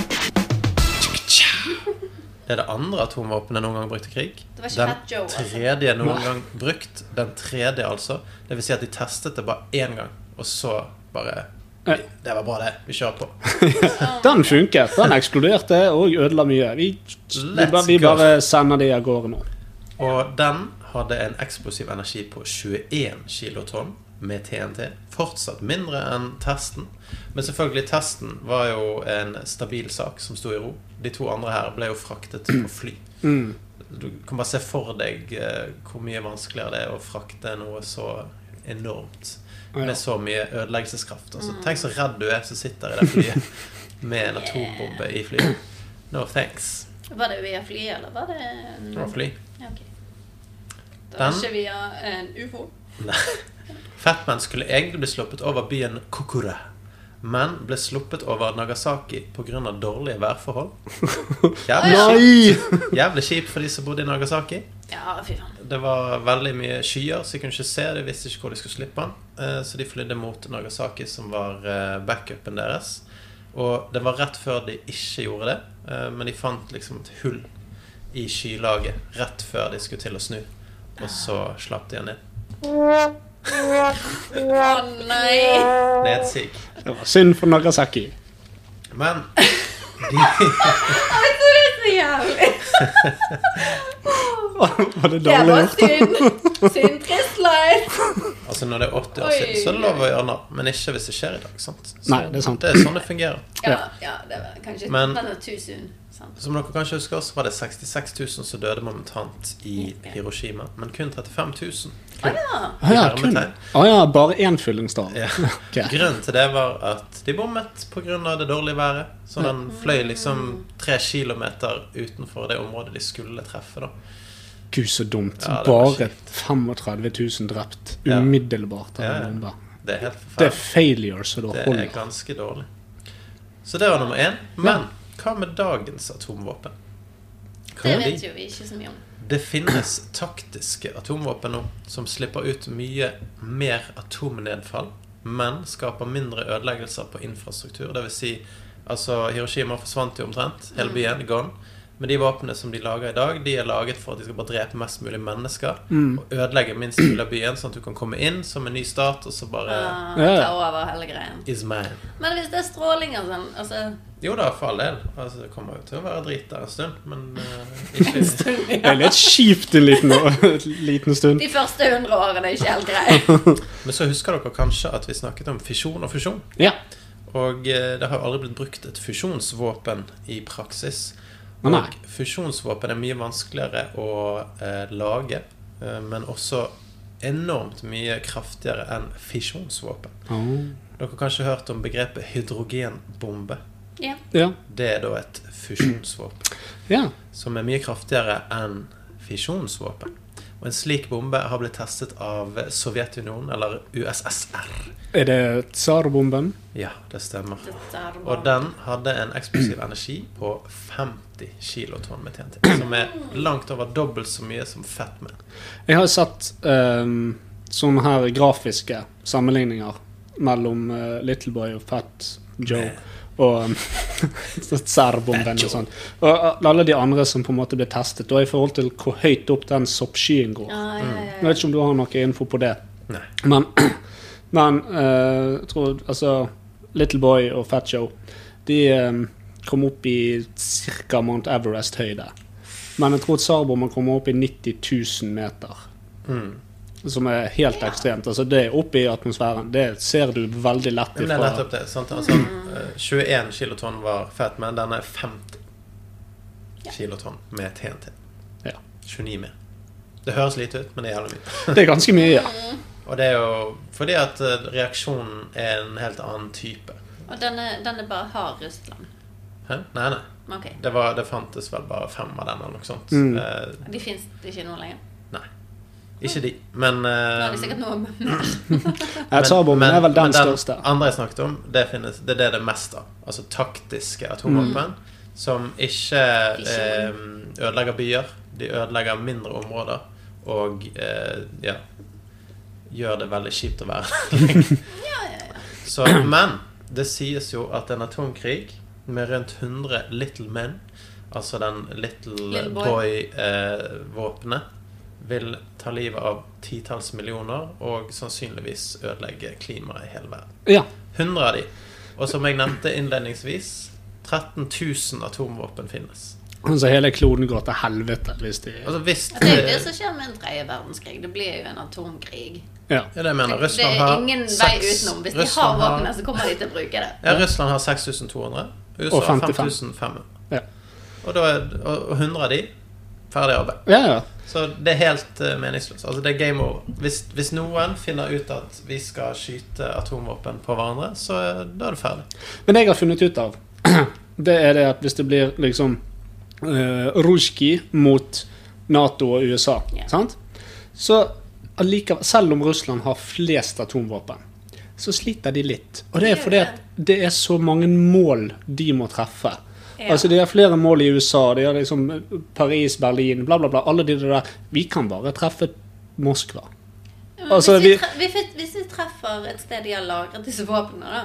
Speaker 5: Det er det andre atomvåpenet noen gang brukt i krig.
Speaker 8: Det var ikke
Speaker 5: Den
Speaker 8: Fat Joe, altså.
Speaker 5: tredje noen gang brukt. Den tredje, altså. Det vil si at de testet det bare én gang, og så bare
Speaker 6: Ja.
Speaker 5: Det var bra, det. Vi kjører på.
Speaker 6: Eh, Den funket. Den eksploderte og ødela mye. Vi, vi,
Speaker 5: Let's
Speaker 6: bare, vi
Speaker 5: go.
Speaker 6: bare sender de av gårde nå.
Speaker 5: Og den hadde en eksplosiv energi på 21 kilotonn med TNT. Fortsatt mindre enn testen. Men selvfølgelig, testen var jo en stabil sak som sto i ro. De to andre her ble jo fraktet på fly.
Speaker 6: Mm.
Speaker 5: Du kan bare se for deg eh, hvor mye vanskeligere det er å frakte noe så enormt.
Speaker 6: Ja.
Speaker 5: Med så mye ødeleggelseskraft. Altså, tenk så redd du er som sitter i det flyet med en atombombe i flyet. No thanks.
Speaker 8: Var det via fly, eller var det
Speaker 5: Det var fly.
Speaker 8: Ja, ok. Det var
Speaker 5: Den-
Speaker 8: ikke via en ufo?
Speaker 5: Nei. Fatman skulle egentlig bli sluppet over byen Kokure, men ble sluppet over Nagasaki pga. dårlige værforhold. Jævlig kjipt jævlig kjipt for de som bodde i Nagasaki.
Speaker 8: Ja, fy faen.
Speaker 5: Det var veldig mye skyer, så de kunne ikke se. De visste ikke hvor de skulle slippe han. Eh, Så de flydde mot Nagasaki, som var eh, backupen deres. Og det var rett før de ikke gjorde det, eh, men de fant liksom et hull i skylaget rett før de skulle til å snu. Og så slapp de han inn.
Speaker 8: Å nei!
Speaker 5: Nedsig.
Speaker 6: Det var synd for Nagasaki.
Speaker 5: Men
Speaker 8: Jeg tror det er så jævlig.
Speaker 6: Var det
Speaker 8: Det
Speaker 6: dårlig
Speaker 8: var
Speaker 6: gjort?
Speaker 8: synd. Synd, trist life.
Speaker 5: Altså Når det er 80 år
Speaker 8: Oi.
Speaker 5: siden, så er det lov å gjøre narr, men ikke hvis det skjer i dag. sant? Så
Speaker 6: Nei, det er sant.
Speaker 5: sånn det fungerer.
Speaker 8: Ja, ja, det var kanskje
Speaker 5: Men-
Speaker 8: Men det var too soon. Sant?
Speaker 5: Som dere kanskje husker, så var det 66 000 som døde momentant i Hiroshima, men kun 35 000.
Speaker 8: Å ja.
Speaker 6: Å ja, kun. Å ja, bare én fyllingsdag.
Speaker 5: Ja.
Speaker 6: Ok.
Speaker 5: Grunnen til det var at de bommet pga. det dårlige været. Så den
Speaker 8: Mm.
Speaker 5: fløy liksom tre kilometer utenfor det området de skulle treffe. da.
Speaker 6: Gud, så dumt.
Speaker 5: Ja, det var
Speaker 6: bare
Speaker 5: kjipt.
Speaker 6: 35 000 drept
Speaker 5: Ja.
Speaker 6: umiddelbart av
Speaker 5: Ja, ja.
Speaker 6: en bombe.
Speaker 5: Det er helt
Speaker 6: Det er
Speaker 5: forferdelig.
Speaker 6: failure så det
Speaker 5: Det er
Speaker 6: holder.
Speaker 5: ganske dårlig. Så det var nummer én. Men hva med dagens atomvåpen? Hva
Speaker 8: Det
Speaker 5: er de?
Speaker 8: vet jo vi ikke så mye om.
Speaker 5: Det finnes taktiske atomvåpen nå som slipper ut mye mer atomnedfall, men skaper mindre ødeleggelser på infrastruktur. Det vil si, altså Hiroshima forsvant jo omtrent, hele byen gone. Men de våpnene som de lager i dag, de er laget for at de skal bare drepe mest mulig mennesker og ødelegge minst mulig av byen, sånn at du kan komme inn som en ny stat, og så bare
Speaker 8: Ah,
Speaker 6: Ja, ja.
Speaker 8: ta over hele greien.
Speaker 5: is man.
Speaker 8: Men hvis det er stråling og sånn altså,
Speaker 5: Jo da, for all del. Altså, det kommer jo til å være drit der en stund, men eh, ikke
Speaker 6: Det er litt kjipt en liten, liten stund.
Speaker 8: De første hundre årene er ikke helt greie.
Speaker 5: Men så husker dere kanskje at vi snakket om fisjon og fusjon.
Speaker 6: Ja.
Speaker 5: Og eh, det har aldri blitt brukt et fusjonsvåpen i praksis.
Speaker 6: Å, nei.
Speaker 5: Og fusjonsvåpen er mye vanskeligere å eh, lage, eh, men også enormt mye kraftigere enn fisjonsvåpen.
Speaker 6: Å.
Speaker 5: Dere har kanskje hørt om begrepet hydrogenbombe.
Speaker 8: Ja.
Speaker 6: Ja.
Speaker 5: Det er da et fusjonsvåpen
Speaker 6: ja.
Speaker 5: som er mye kraftigere enn fisjonsvåpen. Og en slik bombe har blitt testet av Sovjetunionen, eller USSR.
Speaker 6: Er det tsarbomben?
Speaker 5: Ja, det stemmer.
Speaker 8: Dette er
Speaker 5: Og
Speaker 8: bare-
Speaker 5: den hadde en eksplosiv energi på 50 kilotonn med TNT. Som er langt over dobbelt så mye som Fatman.
Speaker 6: Jeg har sett ehm, sånne her grafiske sammenligninger mellom eh, Little Boy og Fat Joe og særbomben og sånn. Og alle de andre som på en måte ble testet, og i forhold til hvor høyt opp den soppskyen går.
Speaker 8: Ja, ja, ja,
Speaker 5: Mm.
Speaker 6: Jeg vet ikke om du har noe info på det,
Speaker 5: Nei.
Speaker 6: men, men eh, jeg tror altså Little Boy og Fat Joe de ehm, kom opp i ca. Mount Everest-høyde. Men jeg tror tsarbomben kommer opp i 90 000 meter.
Speaker 5: Mm.
Speaker 6: Som er helt ekstremt. Altså Det er oppe i atmosfæren. Det ser du veldig lett
Speaker 5: Men det er
Speaker 6: ifra.
Speaker 5: nettopp det. Sant? Altså, eh, 21 kilotonn var Fatman. Den er 50 kilotonn med TNT.
Speaker 6: Ja.
Speaker 5: 29 mer. Det høres lite ut, men det er jævlig mye.
Speaker 6: Det er ganske mye, ja.
Speaker 5: Og det er jo fordi at eh, reaksjonen er en helt annen type.
Speaker 8: Og den er, den er bare hard Russland.
Speaker 5: Hæ? Nei, nei.
Speaker 8: Men ok,
Speaker 5: Det, var, det fantes vel bare fem av den, eller noe sånt.
Speaker 6: Mm.
Speaker 5: Eh,
Speaker 8: De fins ikke nå lenger.
Speaker 5: ikke de, men
Speaker 8: Nå
Speaker 5: eh,
Speaker 8: er det sikkert noe mer.
Speaker 6: Ja, Tsarbomben er vel den, største.
Speaker 5: andre jeg snakket om, det, finnes, det er det det er mest av. Altså taktiske atomvåpen. Som ikke eh, ødelegger byer. De ødelegger mindre områder. Og eh, ja gjør det veldig kjipt å være Så, Men det sies jo at en atomkrig med rundt 100 little men, altså den little
Speaker 8: Little boy.
Speaker 5: boy-våpenet, vil ta livet av titalls millioner og sannsynligvis ødelegge klimaet i hele verden.
Speaker 6: Ja.
Speaker 5: 100 av de. Og som jeg nevnte innledningsvis, 13 000 atomvåpen finnes.
Speaker 6: Så Altså, hele kloden går til helvete hvis de
Speaker 5: Altså hvis
Speaker 8: Det er jo det som skjer med en tredje verdenskrig. Det blir jo en atomkrig.
Speaker 6: Ja.
Speaker 5: Ja, det jeg mener.
Speaker 8: Det
Speaker 5: Russland
Speaker 8: er
Speaker 5: har
Speaker 8: ingen vei
Speaker 5: seks-
Speaker 8: utenom. Hvis de har
Speaker 5: Russland har-
Speaker 8: våpnene, så kommer de til å bruke det.
Speaker 5: Ja, Russland har 6200. USA
Speaker 6: Og
Speaker 5: har
Speaker 6: 55.
Speaker 5: 5500.
Speaker 6: Ja.
Speaker 5: Og, da er, og og 100 av de ferdig arbeid.
Speaker 6: ja, ja.
Speaker 5: Så det er helt eh, meningsløst. Altså, det er game over. Hvis, hvis noen finner ut at vi skal skyte atomvåpen på hverandre, så eh, da er det ferdig.
Speaker 6: Men det jeg har funnet ut av, det er det at hvis det blir liksom uh, Rusjki mot Nato og USA,
Speaker 8: Ja.
Speaker 6: sant? så allikevel, selv om Russland har flest atomvåpen, så sliter de litt. Og det er
Speaker 8: Det gjør
Speaker 6: fordi at det er så mange mål de må treffe.
Speaker 8: Ja.
Speaker 6: Altså De har flere mål i USA, de har liksom Paris, Berlin, bla, bla, bla. Alle de der. Vi kan bare treffe Moskva.
Speaker 8: Men
Speaker 6: Altså,
Speaker 8: hvis, vi
Speaker 6: vi-
Speaker 8: tre- vi, fit- hvis vi treffer et sted de har lagret disse våpnene, da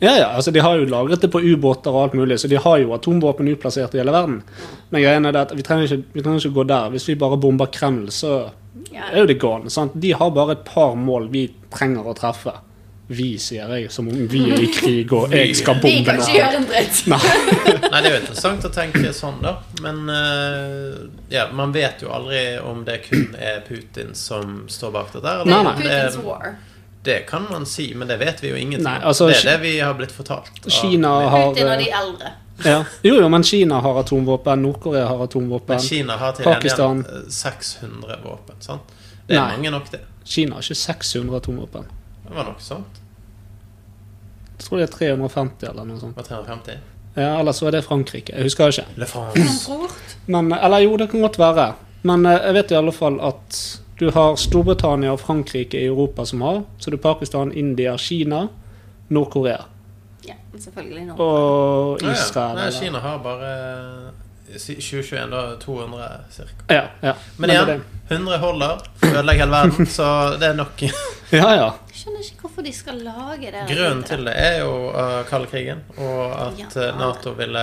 Speaker 6: Ja, ja, altså De har jo lagret det på ubåter og alt mulig, så de har jo atomvåpen utplassert i hele verden. Men greien er det at vi trenger ikke, vi trenger ikke gå der. Hvis vi bare bomber Kreml, så er
Speaker 8: ja.
Speaker 6: jo det gone. sant? De har bare et par mål vi trenger å treffe. Vi, sier jeg, som om vi er i krig og jeg skal
Speaker 8: Vi
Speaker 6: bombe
Speaker 8: kan ikke
Speaker 6: noe.
Speaker 8: gjøre en dritt.
Speaker 5: Nei, det er jo interessant å tenke sånn, da. Men eh, ja, man vet jo aldri om det kun er Putin som står bak dette. eller
Speaker 6: Nei,
Speaker 5: om
Speaker 6: nei.
Speaker 5: det er-
Speaker 8: Putins war.
Speaker 5: Det kan man si, men det vet vi jo ingenting
Speaker 6: Nei,
Speaker 5: om.
Speaker 6: altså,
Speaker 5: det er
Speaker 6: Ki-
Speaker 5: det vi har blitt fortalt. av-
Speaker 6: Kina har
Speaker 8: Putin og de
Speaker 6: eh,
Speaker 8: eldre.
Speaker 6: ja. Jo, jo, men Kina har atomvåpen. Nord-Korea har
Speaker 5: Men
Speaker 6: atomvåpen.
Speaker 5: Kina har til gjengjeld
Speaker 6: Pakistan.
Speaker 5: eh, 600 våpen. sant? Det er
Speaker 6: Nei.
Speaker 5: mange nok, det.
Speaker 6: Kina har ikke 600 atomvåpen.
Speaker 5: Det var nok sånt.
Speaker 6: Jeg tror det er 350 eller noe sånt.
Speaker 5: Var 350.
Speaker 6: Ja, Eller så er det Frankrike. Jeg husker ikke.
Speaker 5: Le France.
Speaker 6: Men, eller jo, det kan godt være. Men eh, jeg vet i alle fall at du har Storbritannia og Frankrike i Europa som har. Så du har Pakistan, India, Kina, Nord-Korea
Speaker 8: Ja, selvfølgelig nå.
Speaker 6: og
Speaker 5: Ja, ja.
Speaker 6: Israel.
Speaker 5: Nei,
Speaker 6: eller-
Speaker 5: Kina har bare eh, si- 2021, da 200 cirka.
Speaker 6: Ja, ja.
Speaker 5: Men
Speaker 6: det er
Speaker 5: igjen,
Speaker 6: det.
Speaker 5: 100 holder for å ødelegge hele verden, så det er nok.
Speaker 6: Ja, ja.
Speaker 8: Jeg skjønner ikke hvorfor de skal lage det.
Speaker 5: Grunnen til det er jo uh, kalde krigen, og at
Speaker 8: Ja.
Speaker 5: eh, Nato ville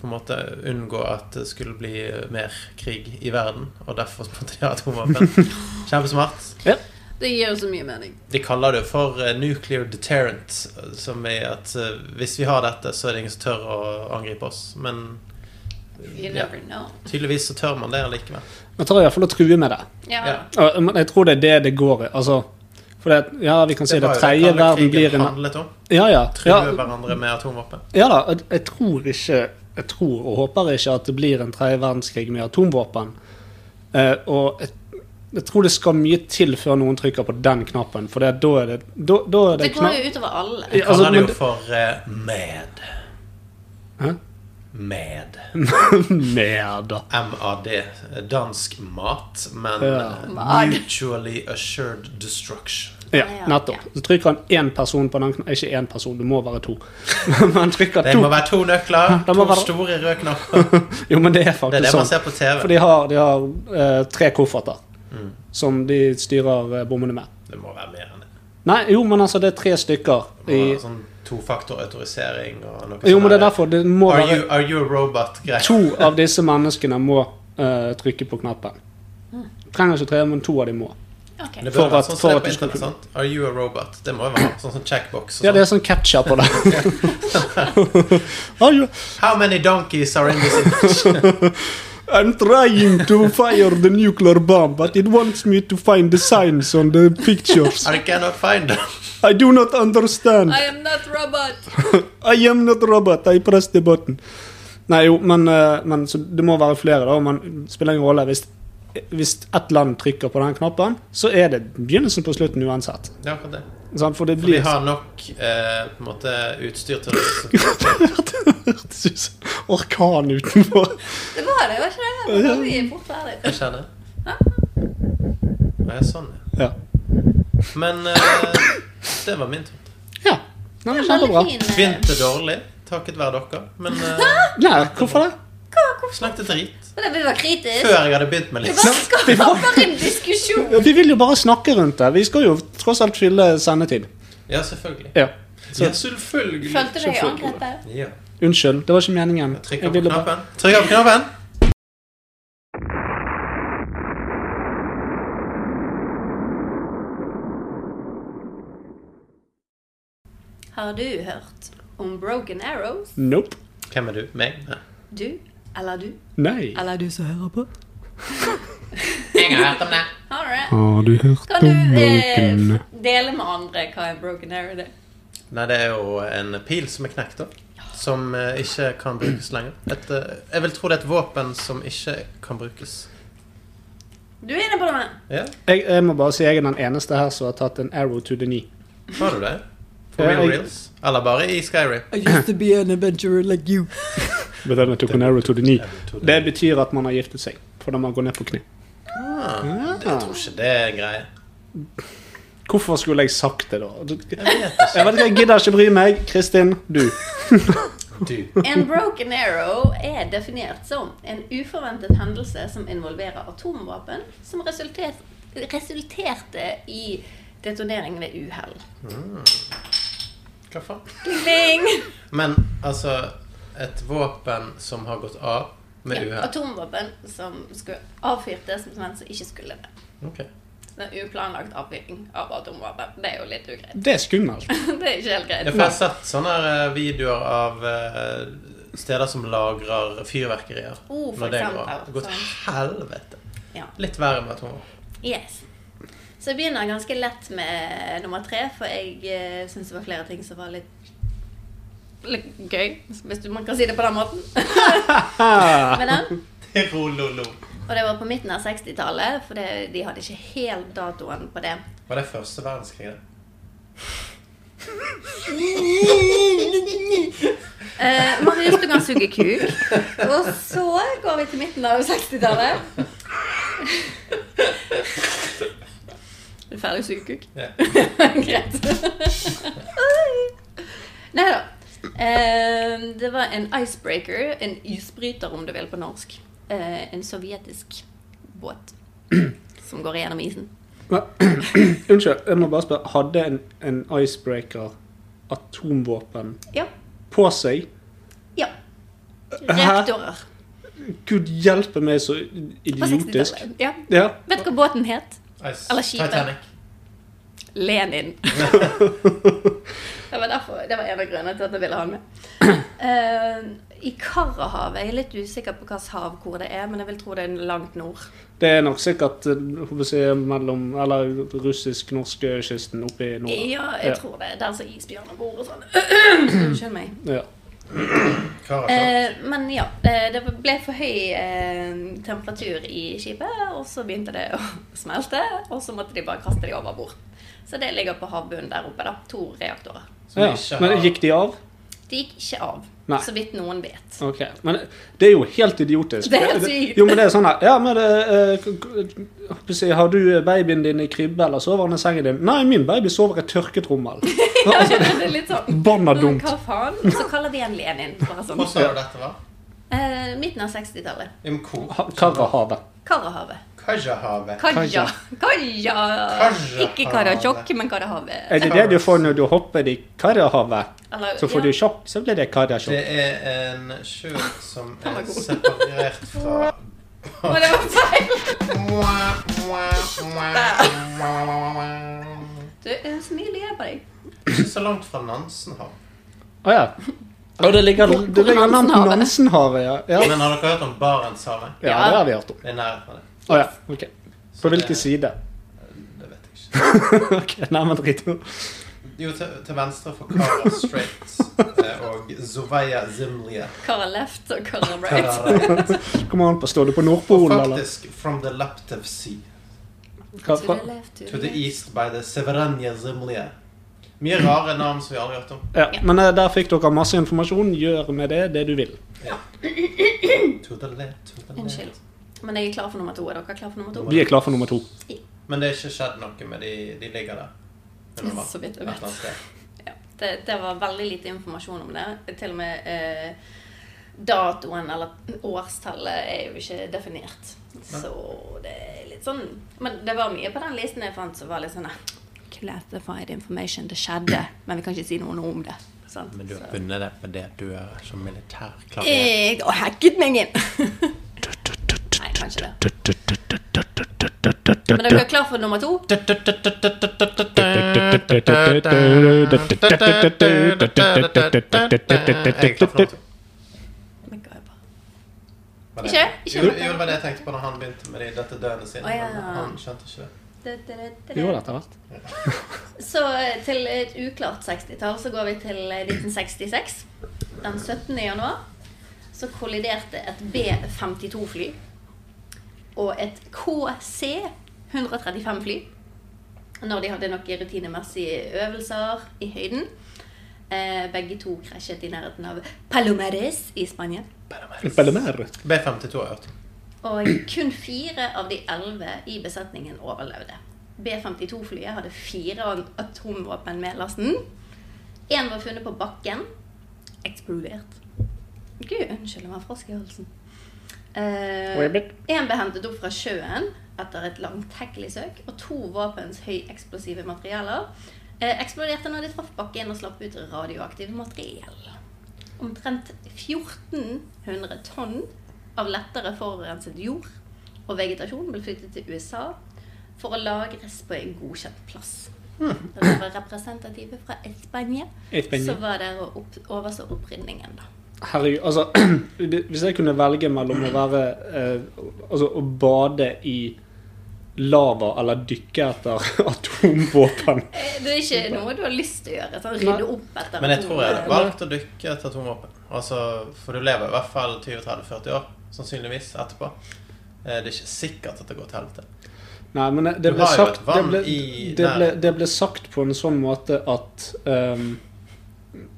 Speaker 5: på en måte unngå at det skulle bli mer krig i verden, og derfor måtte de ha atomvåpen. Kjempesmart.
Speaker 8: Det gir jo så mye mening.
Speaker 5: De kaller det jo for eh, nuclear deterrent, eh, som er at eh, hvis vi har dette, så er det ingen som tør å angripe oss. Men
Speaker 8: You
Speaker 5: ja,
Speaker 8: never know.
Speaker 5: tydeligvis så tør man det allikevel.
Speaker 6: Man tør iallfall å true med det.
Speaker 5: Ja.
Speaker 8: Ja.
Speaker 6: Og, men jeg tror det er det det går i. Altså, for det, ja, vi kan si det
Speaker 5: var jo
Speaker 6: tredje
Speaker 5: kalde
Speaker 6: verden
Speaker 5: krigen
Speaker 6: blir en
Speaker 5: handlet om.
Speaker 6: Ja, ja.
Speaker 5: True
Speaker 6: ja
Speaker 5: hverandre med atomvåpen.
Speaker 6: Ja da, jeg- jeg tror ikke Jeg tror og håper ikke at det blir en tredje verdenskrig med atomvåpen. Eh, og jeg, jeg tror det skal mye til før noen trykker på den knappen, for det, da er det da, da er det
Speaker 8: Det går
Speaker 6: knapp-
Speaker 8: jo utover alle.
Speaker 5: De
Speaker 6: Ja, altså,
Speaker 5: kaller det
Speaker 6: men
Speaker 5: jo for eh, MAD.
Speaker 6: Hæ?
Speaker 5: MAD.
Speaker 6: Mer, da.
Speaker 5: MAD. Dansk mat, men
Speaker 6: Ja.
Speaker 5: eh,
Speaker 8: Mad.
Speaker 5: mutually assured destruction.
Speaker 6: Ja,
Speaker 8: Ja,
Speaker 6: nettopp. Så trykker han én person på den knappen. Ikke én person, det må være to. Men han trykker
Speaker 5: Det
Speaker 6: to.
Speaker 5: må være to nøkler,
Speaker 6: Det må
Speaker 5: to
Speaker 6: være-
Speaker 5: store røde knapper.
Speaker 6: Jo, men det er
Speaker 5: Det
Speaker 6: faktisk
Speaker 5: er det man
Speaker 6: sånn.
Speaker 5: ser på Mm. TV.
Speaker 6: For de har, de har eh, tre kofferter som de styrer eh, bommene med.
Speaker 5: Det må være mer enn det.
Speaker 6: Nei, jo, men altså, det er tre stykker i
Speaker 5: Og sånn tofaktorautorisering og noe
Speaker 6: Jo,
Speaker 5: sånn
Speaker 6: men det er
Speaker 5: der.
Speaker 6: derfor. Det må
Speaker 5: Are
Speaker 6: være
Speaker 5: you, are you a robot-greier.
Speaker 6: To av disse menneskene må eh, trykke på knappen. Trenger ikke tre, men to av dem må.
Speaker 8: Ok.
Speaker 5: Det
Speaker 6: for
Speaker 5: bør være
Speaker 6: at-
Speaker 5: sånn
Speaker 6: for
Speaker 5: som det
Speaker 6: at
Speaker 5: er
Speaker 6: de
Speaker 5: på
Speaker 6: skal
Speaker 5: internett. sant? Are you a robot? Det må jo være sånn som checkbox. og
Speaker 6: Ja, det er
Speaker 5: sånn.
Speaker 6: sånn captcha på det. Are you-
Speaker 5: How many donkeys are in this
Speaker 6: I'm trying to fire the nuclear bomb, but it wants me to find the signs on the pictures.
Speaker 5: I cannot find them.
Speaker 6: I do not understand.
Speaker 8: I am not robot.
Speaker 6: I am not robot, I press the button. Nei, jo, men, eh, men så det må være flere, da. Men spiller ingen rolle. Hvis, hvis ett land trykker på den knappen, så er det begynnelsen på slutten uansett.
Speaker 5: Det er akkurat det.
Speaker 6: Sant? For det
Speaker 5: For vi
Speaker 6: blir
Speaker 5: har nok eh, på en måte utstyr til å
Speaker 6: hørtes ut som orkan utenfor.
Speaker 8: Det var det, var ikke det? Det var mye bort der, det.
Speaker 5: Jeg kjenner.
Speaker 8: Hæ?
Speaker 5: Og jeg er sånn, ja.
Speaker 6: Ja.
Speaker 5: Men eh, det var min tomt.
Speaker 6: ja. Nei, men
Speaker 8: Det var
Speaker 6: Kjempebra.
Speaker 8: veldig fin, eh,
Speaker 5: Begynte dårlig, takket være dere. Men eh,
Speaker 6: Nei, hvorfor det?
Speaker 5: snakket drit.
Speaker 8: Men det- Vi var kritiske.
Speaker 5: Før jeg hadde begynt med
Speaker 8: Det
Speaker 5: litt.
Speaker 8: var skaper en diskusjon.
Speaker 6: Ja, Vi vil jo bare snakke rundt det. Vi skal jo tross alt fylle sendetid.
Speaker 5: Ja, selvfølgelig.
Speaker 6: Ja.
Speaker 5: Ja, selvfølgelig.
Speaker 8: Følte du deg angrepet?
Speaker 5: Ja.
Speaker 6: Unnskyld, det var ikke meningen.
Speaker 5: Trykk
Speaker 6: Jeg
Speaker 5: på
Speaker 6: ville bare-
Speaker 5: knappen. Trykk på knappen.
Speaker 8: Har du hørt om Broken Arrows?
Speaker 6: Nope.
Speaker 5: Hvem er du? Meg? Nei.
Speaker 8: Du eller du?
Speaker 6: Nei.
Speaker 8: Eller du som hører på?
Speaker 5: Jeg har hørt om det.
Speaker 8: Har du det?
Speaker 6: Har du hørt
Speaker 8: Kan du eh, dele med andre hva en broken arrow er?
Speaker 5: Nei, det er jo en pil som er knekt, da. Som eh, ikke kan brukes lenger. Et, eh, jeg vil tro det er et våpen som ikke kan brukes.
Speaker 8: Du er inne på det.
Speaker 5: Ja,
Speaker 6: Jeg, jeg må bare si jeg er den eneste her som har tatt en arrow to the knee.
Speaker 5: har du det? For
Speaker 6: Ja,
Speaker 5: real
Speaker 6: jeg-
Speaker 5: reels? Eller bare i Skyrim?
Speaker 9: I used to be an adventurer like you.
Speaker 6: But then I took an arrow to the knee. Det betyr at man har giftet seg. For da man går ned på kne.
Speaker 5: Ah, jeg tror ikke det er en greie.
Speaker 6: Hvorfor skulle jeg sagt det, da? Jeg
Speaker 5: Jeg vet ikke.
Speaker 6: vet ikke, jeg gidder ikke bry meg. Kristin, du.
Speaker 5: Du.
Speaker 8: En broken arrow er definert som en uforventet hendelse som involverer atomvåpen, som resultet, resulterte i detonering ved uhell.
Speaker 5: Hva faen?
Speaker 8: Ding!
Speaker 5: Men altså Et våpen som har gått av med
Speaker 8: Ja,
Speaker 5: uhell.
Speaker 8: atomvåpen som skulle avfyrtes, men som ikke skulle det.
Speaker 5: Ok.
Speaker 8: Så det er uplanlagt avfyring av atomvåpen. Det er jo litt ugreit.
Speaker 6: Det er skummelt.
Speaker 8: det er ikke helt
Speaker 5: Ja, for Jeg har
Speaker 8: greit.
Speaker 5: sett sånne eh, videoer av eh, steder som lagrer fyrverkerier.
Speaker 8: Oh, for
Speaker 5: når det går
Speaker 8: eksempel, sånn.
Speaker 5: av. Det går til helvete.
Speaker 8: Ja.
Speaker 5: Litt verre med atomvåpen.
Speaker 8: Yes. Så jeg begynner ganske lett med nummer tre, for jeg uh, syns det var flere ting som var litt litt gøy, hvis du, man kan si det på den måten. med den.
Speaker 5: Rololo.
Speaker 8: Og det var på midten av 60-tallet, for det, de hadde ikke helt datoen på det.
Speaker 5: Var det første verdenskrig? det?
Speaker 8: Eh, Marius, du kan suge kuk. Og så går vi til midten av 60-tallet. Er du ferdig å suge kuk?
Speaker 5: Ja.
Speaker 8: Greit. Nei da. Eh, det var en icebreaker, en isbryter om du vil på norsk. Eh, en sovjetisk båt som går gjennom isen.
Speaker 6: Unnskyld, jeg må bare spørre. Hadde en, en icebreaker atomvåpen
Speaker 8: Ja.
Speaker 6: på seg?
Speaker 8: Ja. Reaktorer.
Speaker 6: Gud hjelpe meg, så
Speaker 8: På
Speaker 6: idiotisk.
Speaker 8: 60-tallet. Ja.
Speaker 6: Ja.
Speaker 8: Vet du hva båten het?
Speaker 5: Ice.
Speaker 8: Eller skipet.
Speaker 5: Titanic.
Speaker 8: Lenin. det, var derfor, det var en av grunnene til at jeg ville ha han med. Eh, I Karahavet Jeg er litt usikker på hvilket hav hvor det er, men jeg vil tro det er langt nord.
Speaker 6: Det er nok sikkert eh, håper jeg, å si, mellom Eller russisk-norske kysten oppe i nord.
Speaker 8: Ja, jeg
Speaker 6: Ja.
Speaker 8: tror det. er Der som isbjørner bor og sånn. Unnskyld meg.
Speaker 6: Ja.
Speaker 5: Karakter.
Speaker 8: Eh, men ja, eh, det ble for høy eh, temperatur i skipet, og så begynte det å smelte, og så måtte de bare kaste de over bord. Så det ligger på havbunnen der oppe, da. To reaktorer.
Speaker 5: Som
Speaker 6: Ja.
Speaker 5: ikke
Speaker 6: Men
Speaker 5: har-
Speaker 6: gikk de av?
Speaker 8: De gikk ikke av,
Speaker 6: Nei.
Speaker 8: så vidt noen vet.
Speaker 6: Ok, Men det er jo helt idiotisk.
Speaker 8: Det er helt sykt.
Speaker 6: Jo, men det er sånn her Ja, men eh, k- k- håper jeg å si, Har du eh, babyen din i krybbe, eller sover han i sengen din? Nei, min baby sover i tørketrommel. Altså,
Speaker 8: det er litt sånn
Speaker 6: Banna
Speaker 8: Men
Speaker 6: dumt.
Speaker 8: Hva faen? Så kaller vi en Lenin, bare sånn.
Speaker 5: Hvor sa du dette var?
Speaker 8: Eh, midten av 60-tallet.
Speaker 5: I Mko-
Speaker 6: Ha- Karahavet.
Speaker 8: Karahavet.
Speaker 5: Kajahavet.
Speaker 8: Kaja. Kaja.
Speaker 5: Kaja.
Speaker 8: Ikke Karasjok, men Karahavet.
Speaker 6: Er det det du får når du hopper i Karahavet?
Speaker 8: Eller,
Speaker 6: Så får du sjokk, så blir det Karasjok.
Speaker 5: Det er en sjø som
Speaker 8: var
Speaker 5: er
Speaker 8: god.
Speaker 5: separert fra
Speaker 8: Å, det var feil! Du, det er så mye lyd på deg.
Speaker 5: Ikke så langt fra Nansenhav.
Speaker 6: Å ja. Og det ligger, det ligger langt Nansenhavet, ja. ja.
Speaker 5: Men har dere hørt om Barentshavet?
Speaker 6: Ja, det har vi hørt om.
Speaker 5: Det er i nærheten av det.
Speaker 6: Å ja, ok. På hvilken side?
Speaker 5: Det vet jeg ikke.
Speaker 6: ok, Nei, men drit i det.
Speaker 5: Jo, til, til venstre for Kara Straits eh, og Zoveya Zimlia.
Speaker 8: Kara left og Kara right.
Speaker 5: Kara-
Speaker 6: Kommer an på, står du på
Speaker 5: Og
Speaker 6: Nordpolen, eller?
Speaker 5: faktisk From the Laptev Sea
Speaker 6: Hva,
Speaker 8: To
Speaker 6: hva?
Speaker 8: the left, to
Speaker 5: to the
Speaker 8: the
Speaker 5: E.
Speaker 8: right.
Speaker 5: east by the Severanya Zimlia. Mye rare navn som vi aldri har hørt om.
Speaker 6: Ja, men eh, der fikk dere masse informasjon. Gjør med det det du vil.
Speaker 5: Tudele, tudele.
Speaker 8: Unnskyld. Men jeg er klar for nummer to. Er dere klar for nummer to?
Speaker 6: Vi er klar for nummer to.
Speaker 5: Men det er ikke skjedd noe med de De ligger der. Under vann,
Speaker 8: Så vidt jeg
Speaker 5: et
Speaker 8: vet.
Speaker 5: eller annet sted.
Speaker 8: Ja, det, det var veldig lite informasjon om det. Til og med eh, datoen eller årstallet er jo ikke definert. Så det er litt sånn Men det var mye på den listen jeg fant som var litt sånn eh, Classified information. Det skjedde, men vi kan ikke si noe om det. Sant?
Speaker 5: Men du har
Speaker 8: Så-
Speaker 5: bundet deg på det du er som militærklarer.
Speaker 8: Jeg har hacket meg inn! Nei, kanskje det. Men er dere klar for nummer to? Men hva er bra? Ikke? Ikke?
Speaker 5: Jo, jo, det var det jeg tenkte på når han begynte med de, dette døgnet sine.
Speaker 8: Å, ja.
Speaker 5: men Han skjønte ikke det.
Speaker 8: Det- det- det- det-
Speaker 6: Vi gjorde det etter hvert.
Speaker 8: Så eh, til et uklart 60-tall så går vi til eh, 1966. Den 17. januar så kolliderte et B-52-fly og et KC-135-fly når de hadde noen rutinemessige øvelser i høyden. Eh, begge to krasjet i nærheten av Palomares i Spania.
Speaker 6: Bellemare.
Speaker 5: B52 har jeg hørt.
Speaker 8: Og kun fire av de elleve i besetningen overlevde. B-52-flyet hadde fire atomvåpen med lasten. Én var funnet på bakken. Eksplodert. Gud, unnskyld, det var en frosk i halsen.
Speaker 6: Ribbit.
Speaker 8: Én ble hentet opp fra sjøen etter et langtekkelig søk, og to våpens høyeksplosive materialer eh, eksploderte når de traff bakken og slapp ut radioaktivt materiell. Omtrent 1400 tonn av lettere forurenset jord og vegetasjon ble flyttet til USA for å lagres på en godkjent plass. Da det var representative fra Spania,
Speaker 6: Espania.
Speaker 8: så var det å opp, overså opprydningen, da.
Speaker 6: Herregud, altså Hvis jeg kunne velge mellom å være eh, Altså å bade i lava eller dykke etter atomvåpen
Speaker 8: Eh, Det er ikke noe du har lyst til å gjøre? Sånn, rydde opp etter eh,
Speaker 5: Men jeg tror jeg hadde valgt å dykke etter atomvåpen. Altså, for du lever i hvert fall 20-30-40 år, sannsynligvis, etterpå. Eh, Det er ikke sikkert at det går til helvete.
Speaker 6: Nei, men det
Speaker 5: Du
Speaker 6: ble
Speaker 5: har jo
Speaker 6: sagt
Speaker 5: et
Speaker 6: det
Speaker 5: vann
Speaker 6: ble,
Speaker 5: i
Speaker 6: det, ble,
Speaker 5: nærheten.
Speaker 6: det ble sagt på en sånn måte at ehm,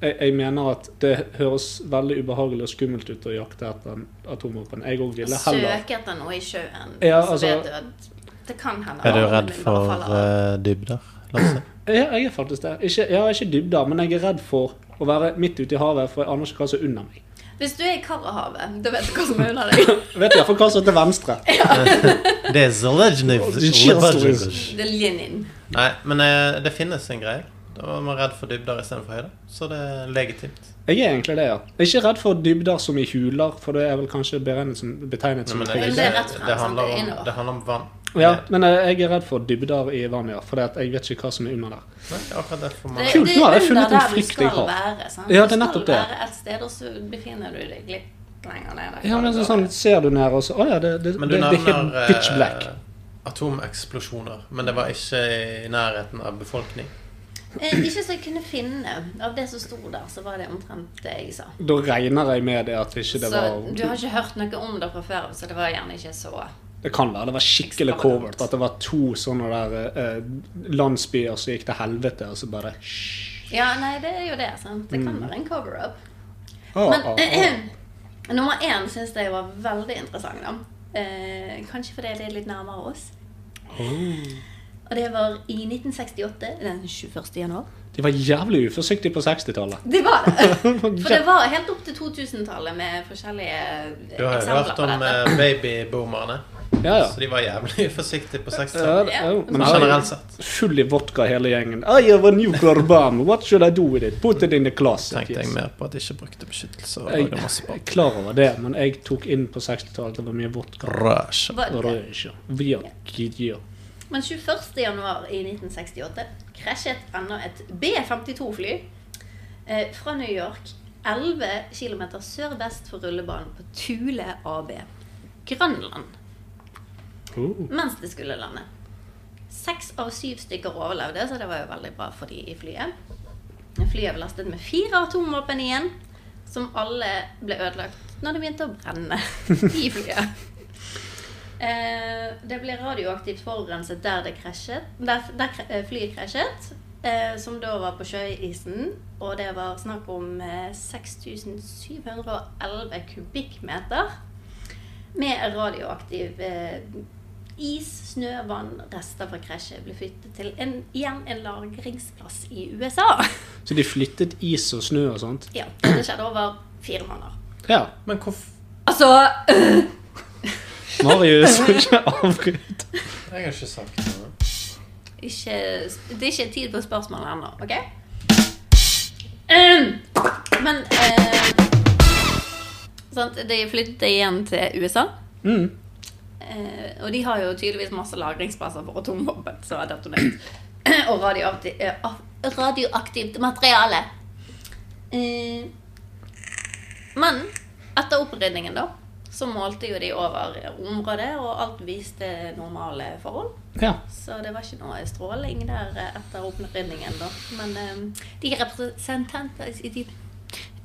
Speaker 6: jeg, jeg mener at det høres veldig ubehagelig og skummelt ut å jakte etter en atomvåpen. Jeg òg ville heller
Speaker 8: Søke etter noe i sjøen,
Speaker 6: Ja,
Speaker 8: så
Speaker 6: altså-
Speaker 8: vet du at det kan hende
Speaker 5: Er du
Speaker 8: at
Speaker 5: redd
Speaker 8: den bare
Speaker 5: for eh,
Speaker 8: faller av.
Speaker 5: dybder, Lasse?
Speaker 6: Ja, jeg er faktisk det. Ikke, ja, ikke dybder, men jeg er redd for å være midt ute i havet, for jeg aner ikke hva som er under meg.
Speaker 5: eh,
Speaker 8: Hvis du er i Karahavet, da vet du hva som er under deg.
Speaker 6: Jeg vet iallfall hva som er til venstre.
Speaker 5: Det er Zelezjnev.
Speaker 6: Det er Zelezjnev.
Speaker 8: Det er Lenin.
Speaker 5: Nei, men eh, det finnes en greie. Da var man redd for dybder istedenfor høyde. Så det er legitimt.
Speaker 6: Jeg er egentlig det, ja. Jeg er ikke redd for dybder som i huler, for det er vel kanskje beregnet som, betegnet
Speaker 5: Nei,
Speaker 6: som
Speaker 5: men
Speaker 6: et
Speaker 5: det,
Speaker 8: Men
Speaker 6: hus.
Speaker 8: det er rett frem,
Speaker 5: det, handler
Speaker 8: sant, det er
Speaker 5: om,
Speaker 8: innover.
Speaker 5: det handler om vann.
Speaker 6: Ja, men eh, jeg er redd for dybder i vannet, ja. For jeg vet ikke hva som er under der.
Speaker 5: Nei, akkurat derfor
Speaker 8: Det,
Speaker 5: man
Speaker 6: Kult, nå har jeg
Speaker 8: under
Speaker 6: funnet en
Speaker 8: der du
Speaker 6: frykt
Speaker 8: skal
Speaker 6: jeg har.
Speaker 8: Være,
Speaker 6: Ja,
Speaker 8: sant?
Speaker 6: det er
Speaker 8: Du skal
Speaker 6: nettopp det.
Speaker 8: Være et sted, og så befinner du deg litt lenger ned. der.
Speaker 6: Ja, men så sånn, ser du ned, og så Å ja, det, det,
Speaker 5: Men
Speaker 6: det,
Speaker 5: du
Speaker 6: det er helt
Speaker 5: nevner
Speaker 6: pitch black.
Speaker 5: eh, atomeksplosjoner, men det var ikke i nærheten av befolkning.
Speaker 8: Eh, Ikke så jeg kunne finne. Av det som sto der, så var det omtrent det jeg sa.
Speaker 6: Da regner jeg med det at ikke det
Speaker 8: Så
Speaker 6: var
Speaker 8: du har ikke hørt noe om det fra før, så det var gjerne ikke så
Speaker 6: Det kan være det var skikkelig covert. At det var to sånne der eh, landsbyer som gikk til helvete, og så bare
Speaker 8: Ja, nei, det er jo det, sant. Det kan være en cover-up.
Speaker 6: Mm. ah,
Speaker 8: Men eh,
Speaker 6: ah, ah.
Speaker 8: nummer én syns jeg var veldig interessant, da. Eh, kanskje fordi det er litt nærmere oss.
Speaker 6: Oh.
Speaker 8: Og det var i 1968, den 21. januar.
Speaker 6: De var jævlig uforsiktige på 60-tallet.
Speaker 8: Det var det. For det
Speaker 6: Ja,
Speaker 8: var helt opp til 2000-tallet med forskjellige
Speaker 5: Du har jo
Speaker 8: eksempler
Speaker 5: hørt
Speaker 8: på
Speaker 5: om
Speaker 8: dette.
Speaker 5: eh, babyboomerne,
Speaker 6: ja.
Speaker 5: så de var jævlig forsiktige på
Speaker 6: Ja,
Speaker 5: 60-tallet.
Speaker 6: det- ja, men her-
Speaker 5: Generelt sett.
Speaker 6: Full i vodka hele gjengen. I have a nuclear bomb. What should I do with it? Put it in the closet.
Speaker 5: tenkte jeg
Speaker 6: yes.
Speaker 5: mer på at de ikke brukte beskyttelse. Og
Speaker 6: Jeg
Speaker 5: lagde masse
Speaker 6: jeg
Speaker 5: barn.
Speaker 6: er klar over det, men jeg tok inn på 60-tallet at det var mye vodka.
Speaker 5: Røsj.
Speaker 8: Var
Speaker 6: Og
Speaker 8: det.
Speaker 6: røyker. Vi har gidder.
Speaker 8: Men 21. januar i 1968 krasjet enda et B-52-fly eh, fra New York 11 km sørvest for rullebanen på Thule AB, Grønland,
Speaker 6: Oh.
Speaker 8: mens det skulle lande. Seks av syv stykker overlevde, så det var jo veldig bra for de i flyet. Flyet ble lastet med fire atomvåpen igjen, som alle ble ødelagt når det begynte å brenne i flyet. Eh, det ble radioaktivt forurenset der, det krasjet, der, der kr- eh, flyet krasjet. eh, som da var på sjøisen. Og det var snakk om eh, 6711 kubikkmeter med radioaktiv eh, is, snø, vann, rester fra krasjet ble flyttet til en, igjen en lagringsplass i USA.
Speaker 6: Så de flyttet is og snø og sånt?
Speaker 8: ja, Det skjedde over fire måneder.
Speaker 6: Ja.
Speaker 5: Men hvorfor
Speaker 8: Altså
Speaker 6: Marius, ikke avbryt.
Speaker 5: Jeg har ikke sagt noe.
Speaker 8: ikke, Det er ikke tid på spørsmålet ennå, OK? Um, men eh, sant, De flyttet igjen til USA.
Speaker 6: Mm.
Speaker 8: Eh, og de har jo tydeligvis masse lagringsplasser for atomvåpen som har detonert. og radioaktiv, eh, af- radioaktivt materiale. Eh, men etter opprydningen, da, så målte jo de over området, og alt viste normale forhold.
Speaker 6: Ja.
Speaker 8: Så det var ikke noe stråling der eh, etter opprydningen, da. Men eh, de representanter de,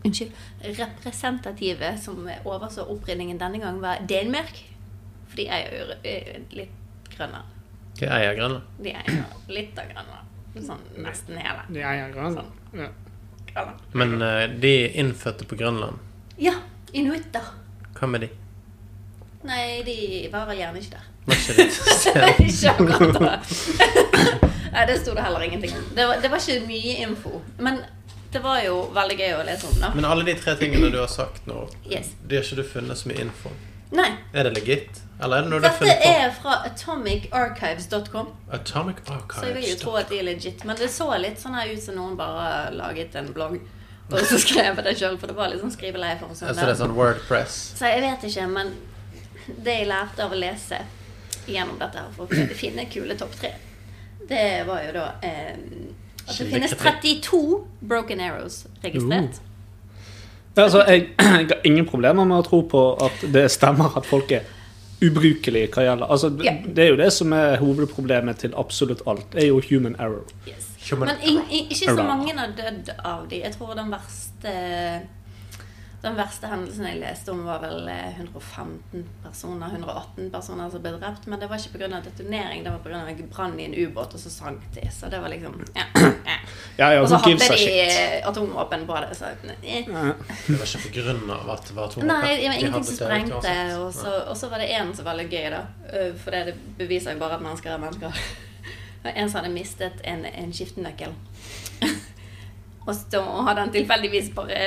Speaker 8: Unnskyld. Representative som overså opprydningen denne gang, var Danmark. For de er jo eh, litt grønne.
Speaker 5: Hva er eiergrønne?
Speaker 8: De er jo litt av grønne. Sånn nesten hele.
Speaker 6: Ja, ja, ja. ja.
Speaker 8: Grønne.
Speaker 5: Men eh, de er innfødte på Grønland.
Speaker 8: Ja, inuitter.
Speaker 5: Hva med de?
Speaker 8: Nei, de varer gjerne ikke der.
Speaker 5: Var ikke de til stede?
Speaker 8: ikke akkurat da. Nei, det sto det heller ingenting om. Det var, det var ikke mye info. Men det var jo veldig gøy å lese om, da.
Speaker 5: Men alle de tre tingene du har sagt nå,
Speaker 8: Yes.
Speaker 5: de har ikke du funnet så mye info om.
Speaker 8: Nei.
Speaker 5: Er det legit? Eller er det noe du har
Speaker 8: Dette
Speaker 5: funnet på?
Speaker 8: er fra atomicarchives.com,
Speaker 5: Atomic
Speaker 8: så jeg vil jo
Speaker 5: Archives.
Speaker 8: tro at de er legit. Men det så litt sånn her ut som noen bare laget en blogg og så skrev det sjøl, for det var litt sånn skriveleie for
Speaker 5: Altså det er
Speaker 8: sånn.
Speaker 5: sånn Wordpress.
Speaker 8: Så jeg vet ikke, men det jeg lærte av å lese gjennom dette her for å finne kule topp tre, det var jo da eh, at det finnes 32 broken arrows registrert.
Speaker 6: Altså, jeg, jeg har ingen problemer med å tro på at det stemmer at folk er ubrukelige hva gjelder Altså, det,
Speaker 8: Ja.
Speaker 6: det er jo det som er hovedproblemet til absolutt alt. Det er jo human error.
Speaker 8: Yes.
Speaker 5: Human
Speaker 8: Men ing- ing- ikke så
Speaker 6: Around.
Speaker 8: mange har dødd av de. Jeg tror den verste den verste hendelsen jeg leste om, var vel eh, 115 personer, 118 personer som ble drept. Men det var ikke pga. detonering, det var pga. en brann i en ubåt, og så sank de. Så det var liksom ja, ja.
Speaker 6: Ja, ja,
Speaker 8: Og så
Speaker 6: who gives
Speaker 8: hadde
Speaker 6: a
Speaker 8: de
Speaker 6: shit?
Speaker 8: eh, atomvåpen på det. Så, eh.
Speaker 5: Det var ikke på grunn av at det var atomvåpen.
Speaker 8: Nei, det var
Speaker 5: De
Speaker 8: ingenting
Speaker 5: hadde
Speaker 8: som
Speaker 5: det sånn.
Speaker 8: sprengte.
Speaker 5: uansett.
Speaker 8: Og så, og så var det en som var litt gøy, da. Eh, For det beviser jo bare at mennesker er mennesker. Det var en som hadde mistet en, en skiftenøkkel. og så hadde han tilfeldigvis bare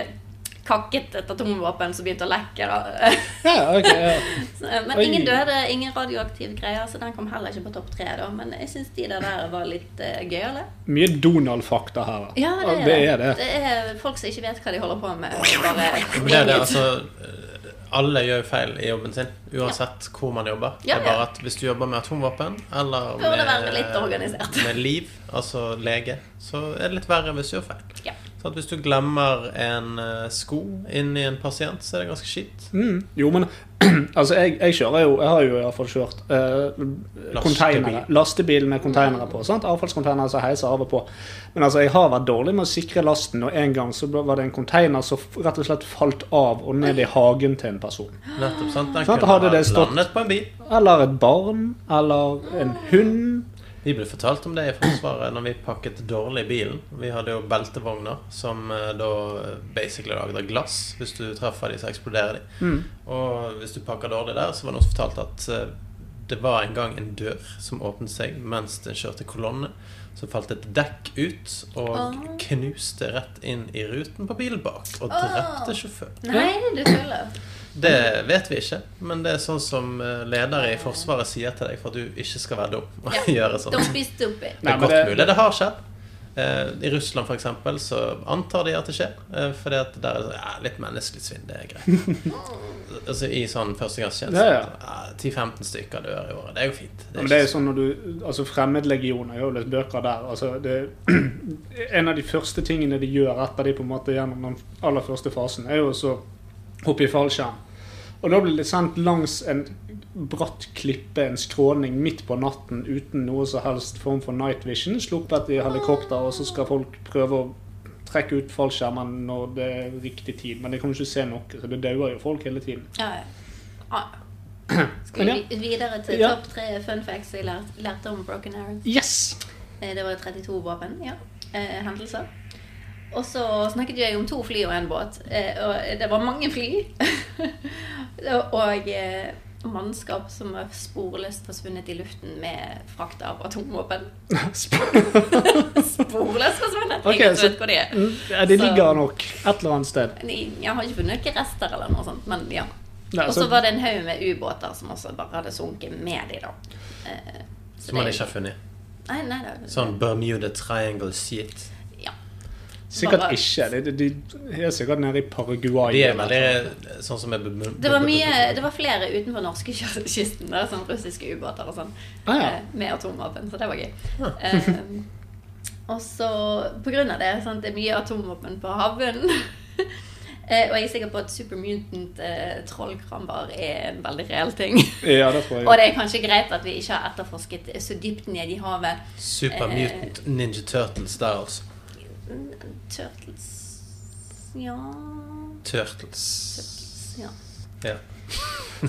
Speaker 8: kakket et atomvåpen som begynte å lekke, da.
Speaker 6: Ja, ok, ja.
Speaker 8: Så, eh, Men
Speaker 6: Oi.
Speaker 8: ingen døde, ingen radioaktive greier, så den kom heller ikke på topp tre, da. Men jeg syns de der der var litt eh, gøyale.
Speaker 6: Mye Donald-fakta her. da.
Speaker 8: Ja, det er
Speaker 6: det. Er det.
Speaker 8: Det er folk som ikke vet hva de holder på med. og Bare
Speaker 5: Men det er det, altså eh, Alle gjør jo feil i jobben sin, uansett hvor man jobber.
Speaker 8: Ja,
Speaker 5: det er
Speaker 8: ja.
Speaker 5: bare at hvis du jobber med atomvåpen, eller
Speaker 8: Burde være litt organisert.
Speaker 5: med liv, altså lege, så er det litt verre hvis du gjør feil.
Speaker 8: Ja.
Speaker 5: Så at hvis du glemmer en eh, sko inni en pasient, så er det ganske kjipt.
Speaker 6: Mm. Jo, men altså, jeg, jeg kjører jo Jeg har jo i hvert fall kjørt eh, konteinere. Lastebil med konteinere på. sant? Avfallskonteinere som heiser av og på. Men altså, jeg har vært dårlig med å sikre lasten, og en gang så ble- var det en konteiner som f- rett og slett falt av og ned i hagen til en person.
Speaker 5: Nettopp, sant? Den
Speaker 6: Sant,
Speaker 5: kunne
Speaker 6: hadde
Speaker 5: ha
Speaker 6: det stått-
Speaker 5: landet på en bil.
Speaker 6: Eller et barn. Eller en hund.
Speaker 5: Vi ble fortalt om det i Forsvaret når vi pakket dårlig i bilen. Vi hadde jo beltevogner som eh, da basically lagde av glass. Hvis du treffer de, så eksploderer de.
Speaker 8: Mm.
Speaker 5: Og hvis du pakker dårlig der, så var det noen som fortalte at eh, det var en gang en dør som åpnet seg mens den kjørte kolonne. Så falt et dekk ut og
Speaker 8: Ah.
Speaker 5: knuste rett inn i ruten på bilen bak og
Speaker 8: Ah.
Speaker 5: drepte sjåføren.
Speaker 8: Nei, du tuller.
Speaker 5: Det vet vi ikke, men det er sånn som eh, leder i Forsvaret sier til deg for at du ikke skal være dum og
Speaker 8: Ja.
Speaker 5: gjøre sånn. sånt.
Speaker 8: De spiste opp i.
Speaker 5: Det
Speaker 6: Nei,
Speaker 5: er
Speaker 6: men
Speaker 5: godt
Speaker 6: det-
Speaker 5: mulig. Det har skjedd. Eh, I Russland for eksempel, så antar de at det skjer. Uh, fordi at der er det sånn, ja, litt menneskelig svinn, det er greit. altså I sånn førstegangstjeneste.
Speaker 6: Ja, ja.
Speaker 5: ja, 10-15 stykker dør i året. Det er jo fint.
Speaker 6: Ja, men det er jo
Speaker 5: ikke
Speaker 6: sånn når du Altså Fremmedlegioner, jeg har jo lest bøker der. Altså, det, en av de første tingene de gjør etter de på en måte gjennom den aller første fasen, er jo også å hoppe i fallskjerm. Og da blir de sendt langs en bratt klippe, en skråning, midt på natten uten noe som helst form for night vision, sluppet i helikopter, og så skal folk prøve å trekke ut fallskjermen når det er riktig tid. Men de kan jo ikke se noe, så det dauer jo folk hele tiden.
Speaker 8: Ja, ja. Ah, ja. Skal
Speaker 6: Men ja.
Speaker 8: vi vi- videre til
Speaker 6: Ja.
Speaker 8: topp tre fun facts jeg lær- lærte om Broken Arrows?
Speaker 6: Yes!
Speaker 8: Eh, Det var 32 våpen, ja. eh, hendelser. Og så snakket jeg om to fly og en båt, eh, og det var mange fly. og eh, mannskap som var sporløst forsvunnet i luften med frakt av atomvåpen. Sporløst forsvunnet!
Speaker 6: Ok,
Speaker 8: Ingen
Speaker 6: så-
Speaker 8: vet hvor de er.
Speaker 6: Ja, det
Speaker 8: Så-
Speaker 6: ligger nok et eller annet sted.
Speaker 8: Jeg har ikke funnet noen rester eller noe sånt, men ja.
Speaker 6: Nei, altså,
Speaker 8: Og
Speaker 6: så-
Speaker 8: så var det en haug med ubåter som også bare hadde sunket med de, da. Eh, så
Speaker 5: Som man
Speaker 8: det-
Speaker 5: ikke har funnet.
Speaker 8: Nei, nei, det
Speaker 5: Sånn Bermuda Triangle shit.
Speaker 8: Ja.
Speaker 6: Sikkert
Speaker 8: Bare-
Speaker 6: ikke. De, de, de er sikkert nede i Paraguay.
Speaker 5: De er
Speaker 6: eller
Speaker 5: veldig
Speaker 6: noe sånt.
Speaker 5: sånn som er bebud-
Speaker 8: Det var, mye, det var flere utenfor norskekysten, sånn russiske ubåter og sånn,
Speaker 6: Ah, ja.
Speaker 8: eh, med atomvåpen, så det var gøy. Eh, og så, på grunn av det, sant, det er mye atomvåpen på havbunnen. Eh, og jeg er sikker på at supermutant eh, trollkrammer er en veldig reell ting.
Speaker 6: Ja, det tror jeg.
Speaker 8: og det er kanskje greit at vi ikke har etterforsket så dypt ned i havet.
Speaker 5: Super Mutant Ninja Turtles der, altså.
Speaker 8: Turtles Ja
Speaker 5: Turtles.
Speaker 8: Ja.
Speaker 5: Ja.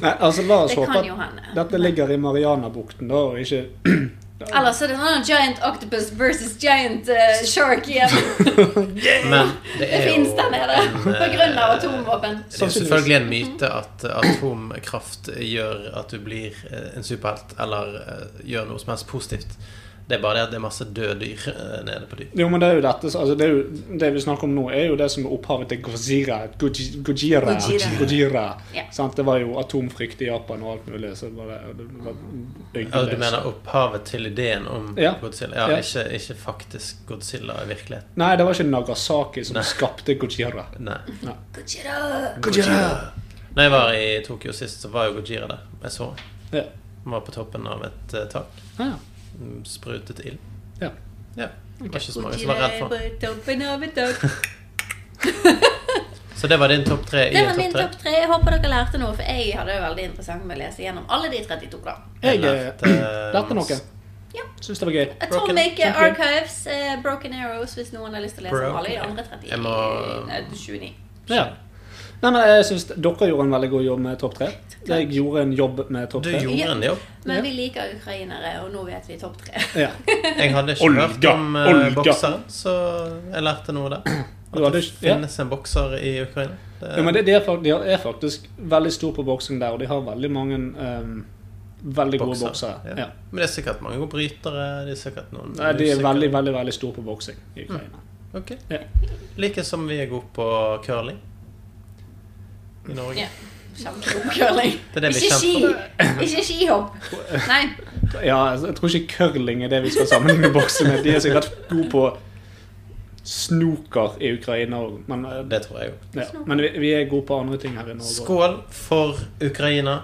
Speaker 6: Nei, altså, la oss
Speaker 8: Det
Speaker 6: håpe
Speaker 8: kan jo
Speaker 6: at
Speaker 8: hende.
Speaker 6: dette ligger i Marianabukten, da, og ikke
Speaker 8: Ellers er det sånn giant octopus versus giant eh, shark igjen.
Speaker 5: Men det
Speaker 8: Det
Speaker 5: er
Speaker 8: fins
Speaker 5: jo
Speaker 8: der nede
Speaker 5: en, eh,
Speaker 8: pga. atomvåpen.
Speaker 5: Det
Speaker 6: Sånn
Speaker 5: er jo selvfølgelig en myte at atomkraft gjør at du blir eh, en superhelt, eller eh, gjør noe som helst positivt. Det er bare det at det er masse døde dyr eh, nede på dyr.
Speaker 6: Jo, men det er jo dette som- altså, det, er jo, det vi snakker om nå, er jo det som er opphavet til Gojira. Goji- Gojira.
Speaker 8: Gojira.
Speaker 6: Gojira.
Speaker 8: Ja.
Speaker 6: Sant? Det var jo atomfrykt i Japan og alt mulig. Så det var, det var
Speaker 5: Altså, du mener opphavet til ideen om
Speaker 6: Ja.
Speaker 5: Godzilla? Ja,
Speaker 6: Ja.
Speaker 5: Ikke, ikke faktisk Godzilla i virkeligheten.
Speaker 6: Nei, det var ikke Nagasaki som skapte Gojira.
Speaker 5: Nei.
Speaker 8: Gojira!
Speaker 5: Gojira. Når jeg var i Tokyo sist, så var jo Gojira der. Jeg så han.
Speaker 6: Ja.
Speaker 5: Han var på toppen av et eh, tak.
Speaker 6: Ah, ja.
Speaker 5: Mm, Sprutet ild.
Speaker 6: Ja.
Speaker 5: Ja. Det var ikke så mange som var redd for han.
Speaker 8: Gojira på toppen av et tak.
Speaker 5: Så det var din topp tre i
Speaker 8: Det var
Speaker 5: en
Speaker 8: min
Speaker 5: topp tre?
Speaker 8: topp tre. Jeg håper dere lærte noe, for jeg hadde det veldig interessant med å lese gjennom alle de 32. da.
Speaker 6: Jeg eh,
Speaker 5: Lærte, eh,
Speaker 6: lærte noe.
Speaker 8: Ja.
Speaker 6: Syns det var gøy.
Speaker 8: Atomic
Speaker 6: Broken.
Speaker 8: Archives, eh, Broken Arrows, hvis noen har lyst til å lese om alle de andre 30.
Speaker 5: Jeg må-
Speaker 8: Nei, 29.
Speaker 6: Ja. Nei, men jeg synes dere gjorde en veldig god jobb med topp tre. Jeg gjorde en jobb med topp
Speaker 5: Du
Speaker 6: tre.
Speaker 5: gjorde en jobb.
Speaker 8: Men
Speaker 6: Ja.
Speaker 8: vi liker ukrainere, og nå vet vi topp tre.
Speaker 6: Ja.
Speaker 5: Jeg hadde ikke
Speaker 6: Olga,
Speaker 5: hørt om eh,
Speaker 6: Olga.
Speaker 5: bokseren, så jeg lærte noe der.
Speaker 6: Du hadde
Speaker 5: At det
Speaker 6: ikke- ja.
Speaker 5: finnes en bokser i Ukraina. Det,
Speaker 6: Ja, men det, de, er faktisk, de er faktisk veldig stor på boksing der, og de har veldig mange ehm, veldig gode boksere.
Speaker 5: Ja.
Speaker 6: Ja.
Speaker 5: Men det er sikkert mange gode brytere. Det er sikkert noen
Speaker 6: Nei, De er
Speaker 5: musikere.
Speaker 6: veldig, veldig veldig store på boksing i Ukraina.
Speaker 5: Ok.
Speaker 6: Ja.
Speaker 5: Like som vi er gode på curling i Norge.
Speaker 8: Ja. Kjempeklok curling.
Speaker 5: Det er det vi
Speaker 8: Ikke ski!
Speaker 5: kjemper
Speaker 8: Ikke skihopp. Nei.
Speaker 6: Ja, altså, jeg tror ikke curling er det vi skal sammenligne boksing med. De er sikkert gode på snooker i Ukraina òg, men, eh,
Speaker 5: Det tror jeg jo.
Speaker 6: ja. men vi, vi er gode på andre ting her i Norge. også.
Speaker 5: Skål for Ukraina.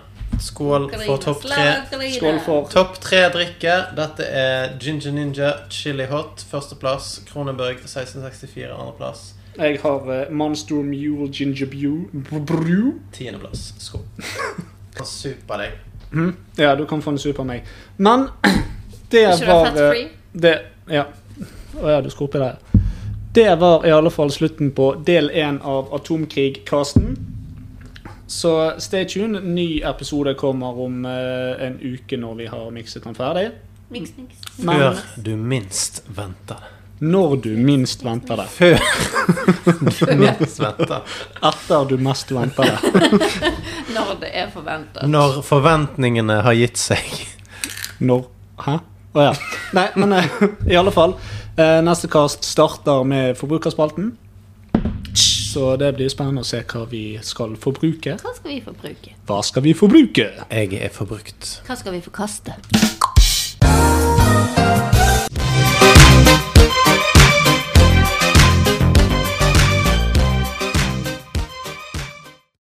Speaker 5: Skål for topp tre.
Speaker 8: Ukraina.
Speaker 6: Skål for
Speaker 5: Topp tre drikker. Dette er Ginger Ninja Chili Hot førsteplass. Kronenburg 1664 andreplass.
Speaker 6: Jeg har eh, Monster Mule Ginger Brew. Brew.
Speaker 5: Tiendeplass. Skål. Super deg.
Speaker 6: Mhm. Ja, du kan få en super av meg. Men det
Speaker 8: Ikke
Speaker 6: var
Speaker 8: være
Speaker 6: eh,
Speaker 8: fat-free.
Speaker 6: Det, ja. Å ja, du skal oppi der. Det var i alle fall slutten på del én av Atomkrig-casten. Så stay tuned. Ny episode kommer om eh, en uke når vi har mikset den ferdig.
Speaker 8: Miks, miks.
Speaker 6: Men
Speaker 5: Før du minst venter det.
Speaker 6: når du minst venter det.
Speaker 5: Før du minst venter.
Speaker 6: Etter du mest venter det.
Speaker 8: Når det er forventet.
Speaker 5: Når forventningene har gitt seg.
Speaker 6: Når Hæ? Å ja. Nei, men eh, i alle fall. eh, neste cast starter med Forbrukerspalten. Så det blir spennende å se hva vi skal forbruke.
Speaker 8: Hva skal vi forbruke?
Speaker 6: Hva skal vi forbruke?
Speaker 5: Jeg er forbrukt.
Speaker 8: Hva skal vi få kaste?